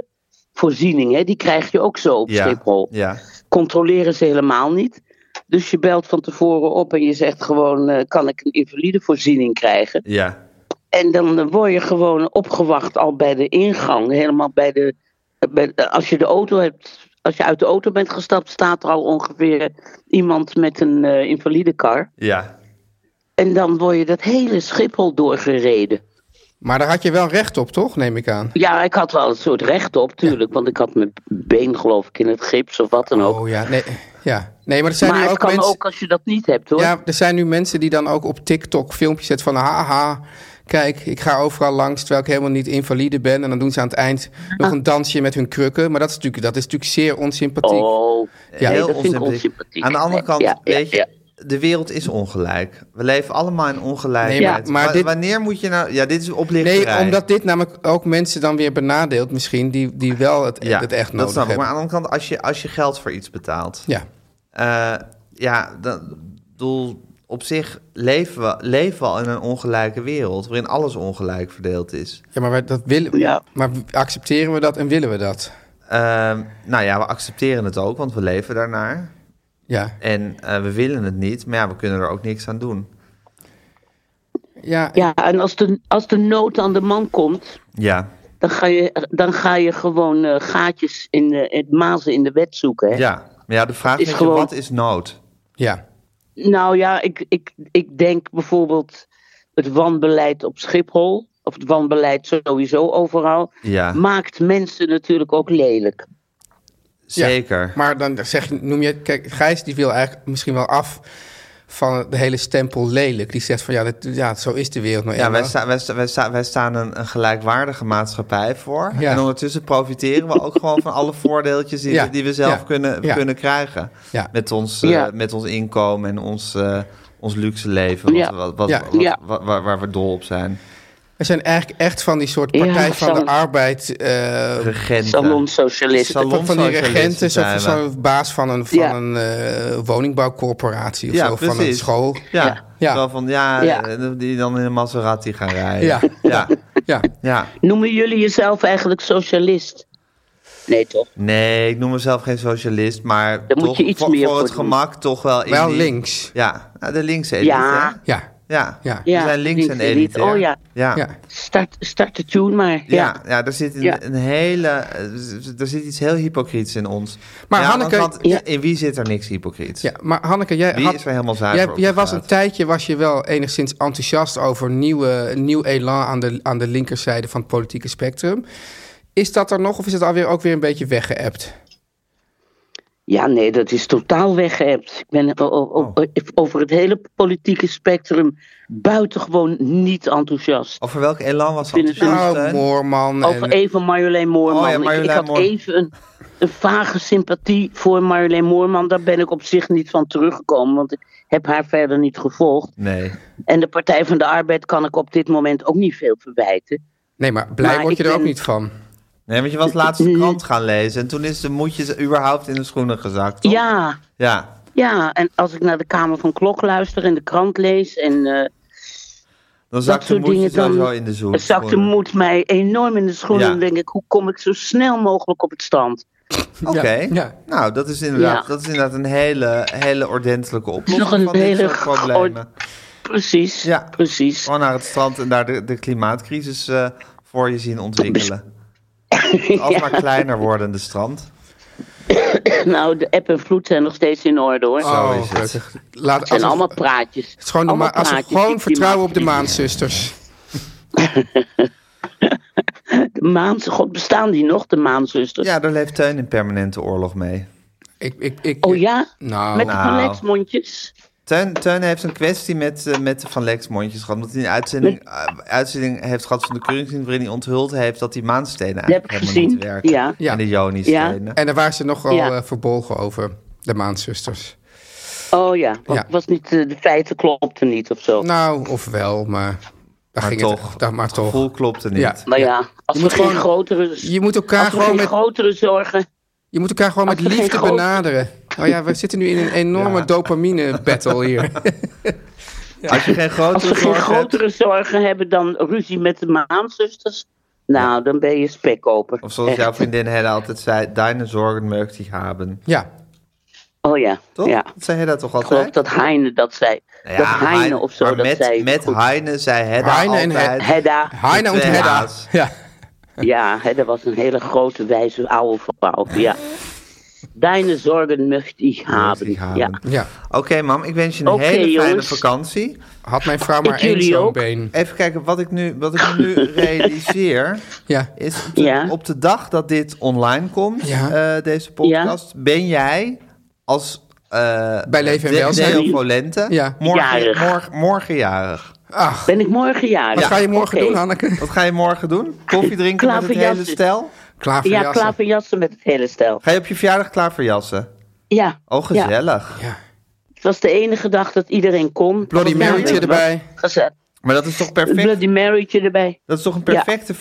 S6: voorziening. Hè, die krijg je ook zo op
S1: ja.
S6: Schiphol.
S1: Ja.
S6: Controleren ze helemaal niet. Dus je belt van tevoren op en je zegt gewoon, eh, kan ik een invalide voorziening krijgen?
S1: Ja.
S6: En dan eh, word je gewoon opgewacht al bij de ingang. Helemaal bij de. eh, bij- als je de auto hebt. Als je uit de auto bent gestapt, staat er al ongeveer iemand met een eh, invalide kar.
S1: Ja.
S6: En dan word je dat hele Schiphol doorgereden.
S2: Maar daar had je wel recht op, toch? Neem ik aan.
S6: Ja, ik had wel een soort recht op, tuurlijk. Want ik had mijn been, geloof ik, in het gips of wat dan ook.
S2: Oh ja, nee, ja. nee maar er zijn
S6: maar
S2: nu
S6: het
S2: ook
S6: kan
S2: mensen...
S6: ook als je dat niet hebt, hoor.
S2: Ja, er zijn nu mensen die dan ook op TikTok filmpjes zetten van... Haha, kijk, ik ga overal langs terwijl ik helemaal niet invalide ben. En dan doen ze aan het eind
S6: Ah.
S2: nog een dansje met hun krukken. Maar dat is natuurlijk, dat is natuurlijk zeer onsympathiek.
S6: oh,
S2: Ja.
S6: ja, nee,
S1: heel
S6: dat vind ik
S1: onsympathiek.
S6: onsympathiek.
S1: Aan de andere
S6: Nee,
S1: kant,
S6: ja, ja,
S1: weet je,
S6: ja.
S1: de wereld is ongelijk. We leven allemaal in ongelijkheid.
S2: Nee, maar- maar
S1: Wa-
S2: dit-
S1: Wanneer moet je nou... Ja, dit is oplichterij.
S2: Nee, omdat dit namelijk ook mensen dan weer benadeelt misschien... die, die wel het,
S1: ja,
S2: het echt
S1: dat
S2: nodig
S1: snap ik. Maar
S2: hebben.
S1: aan de andere kant, als je, als je geld voor iets betaalt...
S2: Ja,
S1: Eh, ja, dat bedoel, op zich leven we, leven we al in een ongelijke wereld waarin alles ongelijk verdeeld is.
S2: ja maar wij- dat willen,
S6: Ja.
S2: maar accepteren we dat en willen we dat?
S1: Ehm, nou ja, we accepteren het ook, want we leven daarnaar.
S2: Ja,
S1: En eh, we willen het niet, maar ja, we kunnen er ook niks aan doen.
S2: ja,
S6: Ja, en als de, als de nood aan de man komt,
S1: Ja,
S6: dan ga je, dan ga je gewoon eh, gaatjes in de, het mazen in de wet zoeken. Hè?
S1: ja. Maar ja, de vraag
S6: Is
S1: is,
S6: gewoon-
S1: wat is nood?
S2: ja.
S6: Nou ja, ik, ik, ik denk bijvoorbeeld het wanbeleid op Schiphol, of het wanbeleid sowieso overal,
S1: Ja,
S6: maakt mensen natuurlijk ook lelijk.
S1: zeker.
S2: Maar dan zeg, je- noem je, kijk, Gijs die wil eigenlijk misschien wel af van de hele stempel lelijk. Die zegt van ja, dat, ja zo is de wereld nou
S1: Ja,
S2: eenmaal.
S1: wij, sta, wij, sta- wij, sta- wij staan een, een gelijkwaardige maatschappij voor.
S2: Ja.
S1: En ondertussen profiteren we ook gewoon van alle voordeeltjes die,
S2: Ja,
S1: die we zelf
S2: ja,
S1: kunnen,
S2: ja.
S1: kunnen krijgen.
S2: Ja.
S1: Met, ons, eh,
S6: Ja.
S1: met ons inkomen en ons, eh, ons luxe leven. Wat,
S6: Ja.
S1: wat, wat,
S2: Ja.
S1: wat-
S6: Ja.
S1: wa- waar, waar we dol op zijn.
S2: Er zijn eigenlijk echt van die soort
S6: Ja,
S2: partij van de
S6: zo'n-
S2: arbeid... eh,
S1: Regenten.
S6: Salonsocialisten.
S1: Salon-
S2: van, van die
S1: Salonsocialisten
S2: regenten, zo,
S1: zijn we.
S2: zo'n baas van een, van
S6: Ja.
S2: een eh, woningbouwcorporatie of
S1: Ja,
S2: zo, van een
S1: precies.
S2: school.
S1: Ja,
S2: Ja.
S1: Wel van ja,
S6: Ja.
S1: eh, die dan in een Maserati gaan rijden.
S2: Ja.
S1: ja.
S2: Ja,
S1: ja.
S6: Noemen jullie jezelf eigenlijk socialist? Nee, toch?
S1: Nee, ik noem mezelf geen socialist, maar
S6: Daar moet
S1: toch
S6: je iets
S1: voor,
S6: meer
S1: voor
S6: voor
S1: het
S6: doen.
S1: gemak toch wel... in
S2: wel
S1: die-
S2: links.
S1: Ja, nou, de linkse elite.
S6: Ja.
S2: Ja,
S1: hè? Ja.
S2: ja, ja.
S1: We zijn links en
S6: elite.
S1: elite. hè?
S6: Oh ja,
S1: Ja. Ja.
S2: ja.
S6: start, start de tune maar.
S1: Ja,
S6: Ja.
S1: daar zit een,
S6: Ja.
S1: een hele. eh, Er zit iets heel hypocriets in ons.
S2: Maar
S1: ja,
S2: Hanneke-
S1: want- want
S6: Ja.
S1: in wie zit er niks hypocriets?
S2: maar Hanneke, jij,
S1: Wie
S2: had,
S1: is er helemaal zuiver
S2: jij,
S1: op
S2: jij was een
S1: gepraat?
S2: tijdje was je wel enigszins enthousiast over nieuwe, nieuw elan aan de, aan de linkerzijde van het politieke spectrum. Is dat er nog of is het alweer ook weer een beetje weggeëpt?
S6: Ja, nee, dat is totaal weggeëpt. Ik ben o- o-
S1: Oh.
S6: o- eh, over het hele politieke spectrum buitengewoon niet enthousiast.
S1: Over welk elan was
S6: vind
S1: dat?
S6: het een-
S2: Nou, Moorman.
S6: Over
S2: en-
S6: even Marjolein Moorman.
S1: Oh ja,
S6: Ik- ik,
S1: Marjolein
S6: had
S1: Moor-
S6: even een, een vage sympathie voor Marjolein Moorman. Daar ben ik op zich niet van teruggekomen, want ik heb haar verder niet gevolgd.
S1: Nee.
S6: En de Partij van de Arbeid kan ik op dit moment ook niet veel verwijten.
S2: nee, maar blij
S6: Maar
S2: word je
S6: ik
S2: er ook
S6: ben-
S2: niet van.
S1: Nee, want je was laatst de krant gaan lezen en toen is de moedjes überhaupt in de schoenen gezakt. toch?
S6: Ja,
S1: Ja.
S6: ja, en als ik naar de Kamer van Klok luister en de krant lees en... eh,
S1: Dan
S6: dat
S1: zakt de
S6: soort dingen
S1: moedjes sowieso in
S6: dan
S1: de zoen.
S6: zakt de moed mij enorm in de schoenen.
S1: Ja.
S6: Dan denk ik, hoe kom ik zo snel mogelijk op het stand?
S1: Oké.
S2: Ja, ja.
S1: Nou, dat is inderdaad,
S6: Ja.
S1: dat is inderdaad een hele, hele ordentelijke oplossing
S6: Nog een
S1: van dit
S6: hele
S1: soort problemen.
S6: Precies,
S1: Ja.
S6: precies.
S1: Gewoon naar het strand en daar de, de klimaatcrisis eh, voor je zien ontwikkelen. Het alsmaar kleiner wordende strand.
S6: Nou, de app en vloed zijn nog steeds in orde hoor.
S1: Zo
S2: Oh,
S1: is het.
S2: gelukkig. Laat,
S6: het
S2: als
S6: zijn
S2: we-
S6: allemaal praatjes.
S2: het is gewoon, de
S6: allemaal
S2: ma- als we
S6: praatjes,
S2: gewoon
S6: die
S2: vertrouwen op de
S6: klimaat-
S2: maanzusters.
S6: De maan, god, bestaan die nog, de maanzusters?
S1: Ja, daar leeft Teun in permanente oorlog mee.
S2: Ik, ik, ik,
S6: Oh ja?
S2: Nou,
S6: Met
S1: Nou.
S6: de flexmondjes?
S1: Teun, Teun heeft een kwestie met, eh, met de Van Lex mondjes gehad. Omdat hij een uitzending, eh, uitzending heeft gehad van de Keuringsdienst... waarin hij onthuld heeft dat die maanstenen
S6: Dat heb ik
S1: eigenlijk helemaal niet
S6: gezien,
S1: werken.
S6: ja.
S2: Ja.
S1: En de Joni-stenen.
S2: en daar waren ze nogal
S6: Ja.
S2: eh, verbolgen over, de maanzusters.
S6: Oh ja, want
S2: Ja.
S6: was niet, eh, de feiten klopten niet of zo.
S2: Nou, of wel, maar... Daar
S1: Maar
S2: ging
S1: toch,
S2: het, daar, maar toch.
S1: gevoel klopte niet.
S2: Ja.
S6: maar Nou ja, als
S2: Je
S6: we
S2: moet
S6: geen
S2: gewoon-
S6: grotere...
S2: Je moet elkaar
S6: als we
S2: gewoon
S6: geen
S2: met-
S6: grotere zorgen...
S2: Je moet elkaar gewoon met
S6: Als we geen
S2: liefde
S6: groot-
S2: benaderen. Oh ja, we zitten nu in een enorme
S1: Ja.
S2: dopamine-battle hier.
S1: Als je geen
S6: Als
S1: grotere
S6: we geen
S1: zorg hebt...
S6: grotere zorgen hebben dan ruzie met de maanzusters... Nou, dan ben je spekkoper.
S1: Of zoals
S6: Echt.
S1: jouw vriendin Hedda altijd zei, deine zorgen möchte ik hebben.
S2: Ja,
S6: Oh ja,
S1: Toch?
S6: ja.
S1: Dat zei Hedda toch
S6: Ik geloof
S1: altijd?
S6: dat Heine dat zei. dat Heine, of zo
S1: maar
S6: dat
S1: met,
S6: zei.
S1: met
S6: Goed.
S1: Heine zei Hedda
S2: Heine en
S1: altijd...
S6: Hedda.
S2: Heine en
S1: Twee
S2: Hedda.
S1: H's.
S2: nou, Ja.
S6: Ja, hè, dat was een hele grote, wijze oude vrouw. Ja. Deine zorgen möchte ik
S1: Möchte
S6: hebben.
S1: ich haben.
S6: Ja.
S2: ja,
S1: Oké mam, ik wens je een
S6: Oké,
S1: hele fijne
S6: jongens.
S1: vakantie.
S2: had mijn vrouw maar
S6: Ik
S2: één
S6: jullie
S2: zo'n
S6: ook.
S2: been.
S1: Even kijken, wat ik nu, wat ik nu realiseer...
S2: Ja,
S1: is op de,
S6: Ja.
S1: op de dag dat dit online komt,
S2: Ja.
S1: eh, deze podcast... ben jij als... eh
S2: Bij Leven en
S1: de-
S2: Welzijn.
S1: Deo Volente,
S2: Ja.
S1: morgen,
S6: Jarig.
S1: morgen, morgenjarig.
S2: ach,
S6: Ben ik morgen jarig?
S2: wat ga je morgen
S6: Oké.
S2: doen, Hanneke?
S1: Wat ga je morgen doen? Koffie drinken met het hele
S6: Klaverjassen.
S1: stel?
S2: Klaar voor
S6: Ja,
S2: jassen.
S6: klaar voor jassen met het hele stel.
S1: Ga je op je verjaardag klaverjassen?
S6: Ja.
S1: Oh,
S6: Ja.
S1: gezellig.
S2: Ja.
S6: Het was de enige dag dat iedereen kon.
S2: Bloody
S6: Nou,
S2: Marytje
S6: weet je wat?
S2: erbij.
S6: Gezellig.
S1: Maar dat is toch perfect?
S6: Bloody Marytje erbij.
S1: Dat is toch een perfecte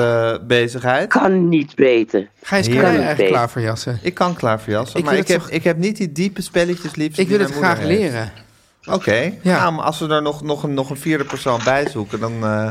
S1: verjaardagsbezigheid?
S6: Kan niet beter.
S2: Gijs, kan
S1: Heerlijk.
S2: jij eigenlijk klaar voor jassen?
S1: ik kan klaverjassen,
S2: Ik
S1: maar
S2: wil
S1: ik
S2: het
S1: heb,
S2: toch-
S1: ik heb niet die diepe spelletjes liefst.
S2: Ik wil het graag leren.
S1: Oké,
S2: Ja.
S1: nou, maar als we er nog, nog, een, nog een vierde persoon bij zoeken, dan, eh,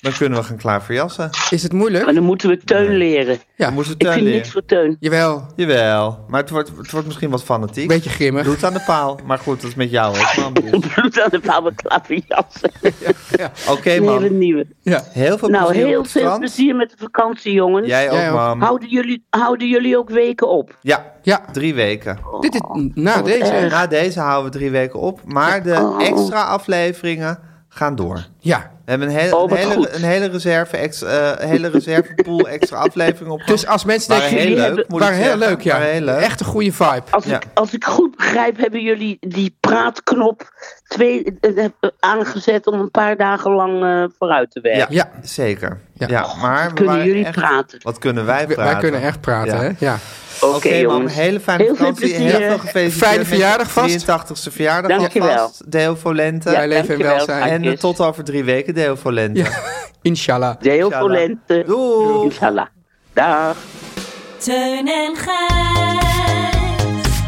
S1: dan kunnen we gaan klaverjassen.
S2: Is het moeilijk?
S6: Maar dan moeten we Teun leren.
S2: Ja,
S1: Dan moeten we
S6: Ik
S1: tuin
S6: vind niks
S1: eh, leren.
S6: voor Teun.
S2: jawel.
S1: Jawel, maar het wordt, het wordt misschien wat fanatiek.
S2: Beetje grimmig.
S1: Doe het aan de paal. Maar goed, dat is met jou ook, man. Dus. Oké,
S6: Bloed aan de paal met klaverjassen. Een hele
S1: man.
S6: nieuwe.
S2: Ja.
S1: Heel veel
S6: Nou,
S1: plezier op
S6: heel
S1: het
S6: veel
S1: strand.
S6: plezier met de vakantie, jongens.
S1: Jij
S2: Jij
S1: ook,
S2: ook.
S1: man.
S6: Houden, jullie, houden jullie ook weken op?
S1: Ja,
S2: Ja,
S1: drie weken.
S2: dit
S6: Oh.
S2: is na deze.
S1: Na deze houden we drie weken op. Maar de
S2: Oh.
S1: extra afleveringen gaan door.
S2: Ja,
S1: We hebben een, hele-
S6: Oh,
S1: een,
S6: wat
S1: hele,
S6: goed.
S1: een hele reserve, ex, eh, hele reserve pool extra afleveringen op.
S2: dus als mensen
S1: waren
S2: denken...
S1: heel
S6: jullie
S1: leuk,
S6: hebben-
S1: moet ik
S2: Waren heel
S1: zeggen.
S2: leuk, ja.
S1: Waren heel leuk.
S2: Echt een goede vibe.
S6: Als,
S1: Ja.
S6: ik, als ik goed begrijp, hebben jullie die praatknop twee, eh, eh, aangezet om een paar dagen lang eh, vooruit te werken.
S1: Ja,
S2: Ja.
S1: zeker.
S2: Ja.
S1: Ja. maar we
S6: Kunnen
S1: waren
S6: jullie
S1: echt-
S6: praten?
S1: Wat kunnen wij
S2: We-
S1: praten?
S2: Wij kunnen echt praten,
S1: Ja.
S2: hè? Ja.
S6: Oké,
S1: Oké, man.
S6: jongens.
S1: Hele fijne
S6: Heel veel
S1: vakantie.
S6: plezier.
S1: Heel veel gefeliciteerd.
S2: Fijne
S1: met
S2: verjaardag
S1: je
S2: vast.
S1: 83ste verjaardag
S6: Dankjewel.
S1: alvast. Deo Volente.
S2: Bij Leven en
S6: dankjewel,
S2: Welzijn.
S1: En eh,
S6: Dankjes.
S1: tot over drie weken, Deo Volente.
S2: Ja. Inshallah.
S6: Deo
S1: Inshallah.
S6: Volente.
S1: Doei.
S6: Inshallah. Dag.
S5: Teun en Gijs.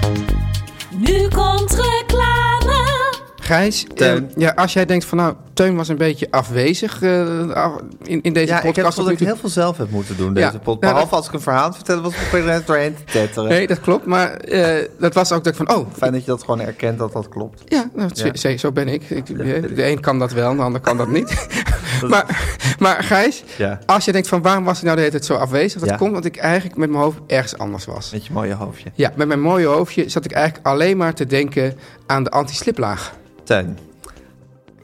S5: Nu komt reclame.
S2: Gijs,
S1: Teun.
S2: eh, ja, als jij denkt van nou, Teun was een beetje afwezig eh, af- in, in deze
S1: Ja, ik
S2: podcast.
S1: heb het gevoel dat ik
S2: natuurlijk.
S1: heel veel zelf heb moeten doen. Deze
S2: Ja.
S1: podcast.
S2: Ja,
S1: Behalve
S2: dat-
S1: als ik een verhaal vertelde, was ik er doorheen te tetteren.
S2: Nee, dat klopt. Maar eh, dat was ook dat ik van, oh,
S1: Fijn dat je dat gewoon erkent dat dat klopt.
S2: Ja, nou, zo-
S1: Ja.
S2: Zo, zo ben ik. ik eh, de een kan dat wel, de ander kan dat niet. maar, maar Gijs,
S1: Ja.
S2: als je denkt van waarom was ik nou de hele tijd zo afwezig? Dat
S1: Ja.
S2: komt omdat ik eigenlijk met mijn hoofd ergens anders was.
S1: Met je mooie hoofdje.
S2: Ja, met mijn mooie hoofdje zat ik eigenlijk alleen maar te denken aan de anti-sliplaag.
S1: Teun.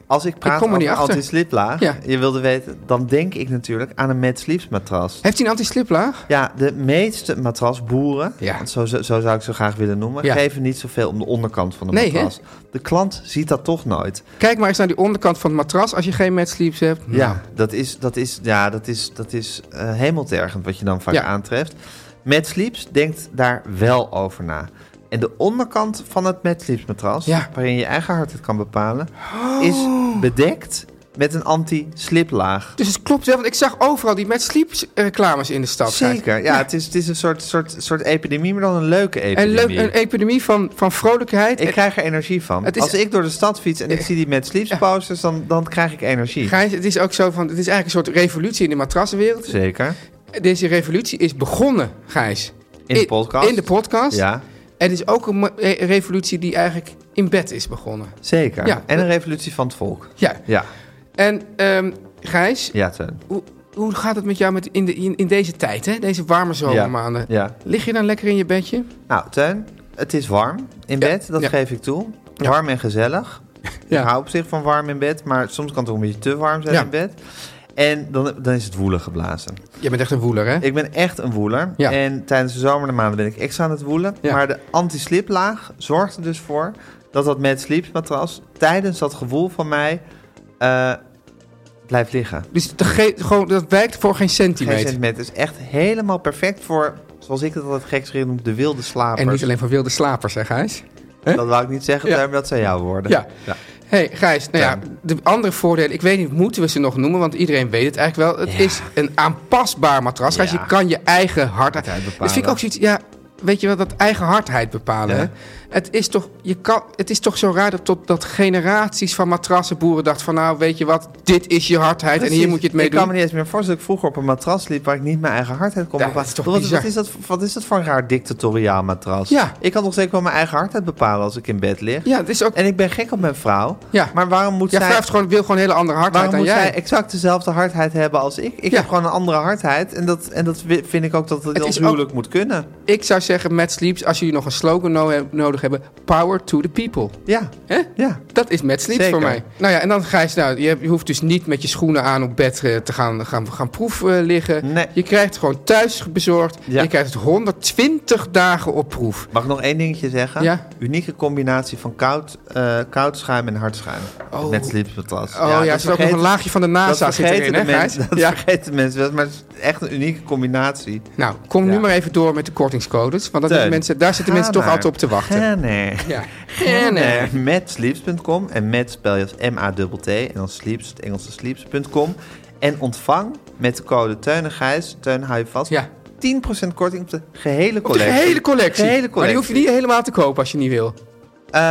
S1: Als ik praat
S2: kom er niet
S1: over
S2: achter.
S1: anti-sliplaag,
S2: Ja.
S1: je wilde weten, dan denk ik natuurlijk aan een Mad Sleeps matras.
S2: Heeft hij een anti-sliplaag?
S1: Ja, de meeste matrasboeren,
S2: Ja.
S1: want zo, zo zo zou ik ze graag willen noemen,
S2: Ja.
S1: geven niet zoveel om de onderkant van de
S2: Nee, hè?
S1: matras. De klant ziet dat toch nooit.
S2: Kijk maar eens naar die onderkant van het matras als je geen matsleeps hebt. Nou,
S1: Ja, dat is, dat is, ja, dat is, dat is eh, hemeltergend wat je dan vaak
S2: Ja.
S1: aantreft. Mad Sleeps denkt daar wel over na. En de onderkant van het Mad Sleeps matras,
S2: Ja. Oh.
S1: waarin je eigen hart het kan bepalen, is bedekt met een anti-sliplaag.
S2: Dus het klopt wel, want ik zag overal die matsleeps reclames in de stad. Gijs.
S1: Zeker, ja, Het, is, het is een soort, soort, soort epidemie, maar dan een leuke
S2: En
S1: epidemie.
S2: leuk, een epidemie van, van vrolijkheid.
S1: ik krijg er energie van.
S2: Het is-
S1: Als ik door de stad fiets en ik zie die Mad Sleeps posters, dan, dan krijg ik energie.
S2: Gijs, het is ook zo van, het is eigenlijk een soort revolutie in de matrassenwereld.
S1: Zeker.
S2: Deze revolutie is begonnen, Gijs.
S1: In de podcast.
S2: In de podcast.
S1: Ja,
S2: En het is ook een mo- re- revolutie die eigenlijk in bed is begonnen.
S1: zeker.
S2: Ja.
S1: En een revolutie van het volk.
S2: Ja.
S1: Ja,
S2: En ehm, Gijs,
S1: ja, Teun.
S2: hoe, hoe gaat het met jou met in, de, in, in deze tijd, hè? deze warme zomermaanden?
S1: Ja.
S2: Lig je dan lekker in je bedje?
S1: Nou, Teun, het is warm in
S2: Ja,
S1: bed, dat
S2: ja.
S1: geef ik toe. Warm en gezellig.
S2: Ja.
S1: Ik hou op zich van warm in bed, maar soms kan het ook een beetje te warm zijn
S2: Ja.
S1: in bed. En dan, dan is het woelen geblazen.
S2: Je bent echt een woeler, hè?
S1: Ik ben echt een woeler.
S2: Ja.
S1: En tijdens de zomermaanden ben ik extra aan het woelen.
S2: Ja.
S1: Maar de anti-sliplaag zorgt er dus voor dat dat met sleepsmatras tijdens dat gevoel van mij eh, blijft liggen.
S2: Dus dat, ge- gewoon, dat wijkt voor geen centimeter.
S1: Geen centimeter. Het is echt helemaal perfect voor, zoals ik het altijd gekscherend noem, de wilde slaper.
S2: en niet alleen voor wilde slapers, hè Gijs?
S1: Dat wou ik niet zeggen,
S2: Ja.
S1: Teun, maar dat zijn jouw woorden.
S2: Ja. hey, Gijs, nou ja,
S1: Ja.
S2: de andere voordelen, ik weet niet, moeten we ze nog noemen, want iedereen weet het eigenlijk wel. Het
S1: Ja.
S2: is een aanpasbaar matras. Gijs,
S1: Ja.
S2: je kan je eigen hardheid
S1: Hardheid bepalen.
S2: Dus vind ik ook zoiets, ja, weet je wel, dat eigen hardheid bepalen.
S1: Ja.
S2: hè? Het, is toch, je kan, het is toch zo raar dat, tot, dat generaties van matrassenboeren dachten van, nou, weet je wat, dit is je hardheid en hier
S1: Precies.
S2: moet je het mee
S1: Ik kan me
S2: doen.
S1: niet eens meer voorstellen dat ik vroeger op een matras sliep waar ik niet mijn eigen hardheid kon
S2: Ja,
S1: bepalen.
S2: dat is toch
S1: wat,
S2: bizar.
S1: wat, is dat, wat is dat voor een raar dictatoriaal matras?
S2: Ja.
S1: Ik kan nog steeds wel mijn eigen hardheid bepalen als ik in bed lig.
S2: Ja, het is ook,
S1: En ik ben gek op mijn vrouw.
S2: Ja.
S1: Maar waarom moet
S2: ja,
S1: zij,
S2: vrouw heeft gewoon, wil gewoon een hele andere hardheid
S1: waarom
S2: dan
S1: moet
S2: jij.
S1: zij exact dezelfde hardheid hebben als ik? Ik
S2: Ja.
S1: heb gewoon een andere hardheid. En dat, en dat wi- vind ik ook dat het,
S2: Het
S1: het
S2: is
S1: ons huwelijk moet kunnen.
S2: Ik zou zeggen, Mad Sleeps, als jullie nog een slogan no- nodig hebben, power to the people.
S1: Ja.
S2: Hè?
S1: Ja.
S2: Dat is Mad Sleeps
S1: Zeker.
S2: voor mij. Nou ja, en dan Gijs, nou, je, hebt- je hoeft dus niet met je schoenen aan op bed eh, te gaan, gaan, gaan proef eh, liggen.
S1: Nee.
S2: Je krijgt het gewoon thuis bezorgd.
S1: Ja.
S2: Je krijgt het 120 dagen op proef.
S1: Mag ik nog één dingetje zeggen?
S2: Ja.
S1: Unieke combinatie van koud, eh, koud schuim en hard schuim.
S2: Oh.
S1: Met sleepmatras.
S2: Oh ja,
S1: dat
S2: er zit ook nog
S1: vergeten-
S2: een laagje van de NASA
S1: dat
S2: zit erin,
S1: vergeten,
S2: hè
S1: de
S2: Gijs?
S1: mensen, dat
S2: Ja.
S1: vergeten mensen wel eens, maar het is echt een unieke combinatie.
S2: Nou, kom nu
S1: Ja.
S2: maar even door met de kortingscodes. Want dat
S1: Teun,
S2: doen mensen, daar zitten
S1: ga
S2: mensen toch
S1: maar.
S2: altijd op te wachten.
S1: Ga naar-
S2: Ja.
S1: ga
S2: En, eh,
S1: naar matsleeps.com en mat spel je als M-A-T-T en dan sleeps, het Engelse sleeps.com. En ontvang met de code Teun en Gijs, Teun hou je vast,
S2: Ja.
S1: 10% korting op de gehele
S2: Op de
S1: collectie.
S2: hele collectie.
S1: Gehele
S2: Maar die hoef je niet helemaal te kopen als je niet wil.
S1: Eh,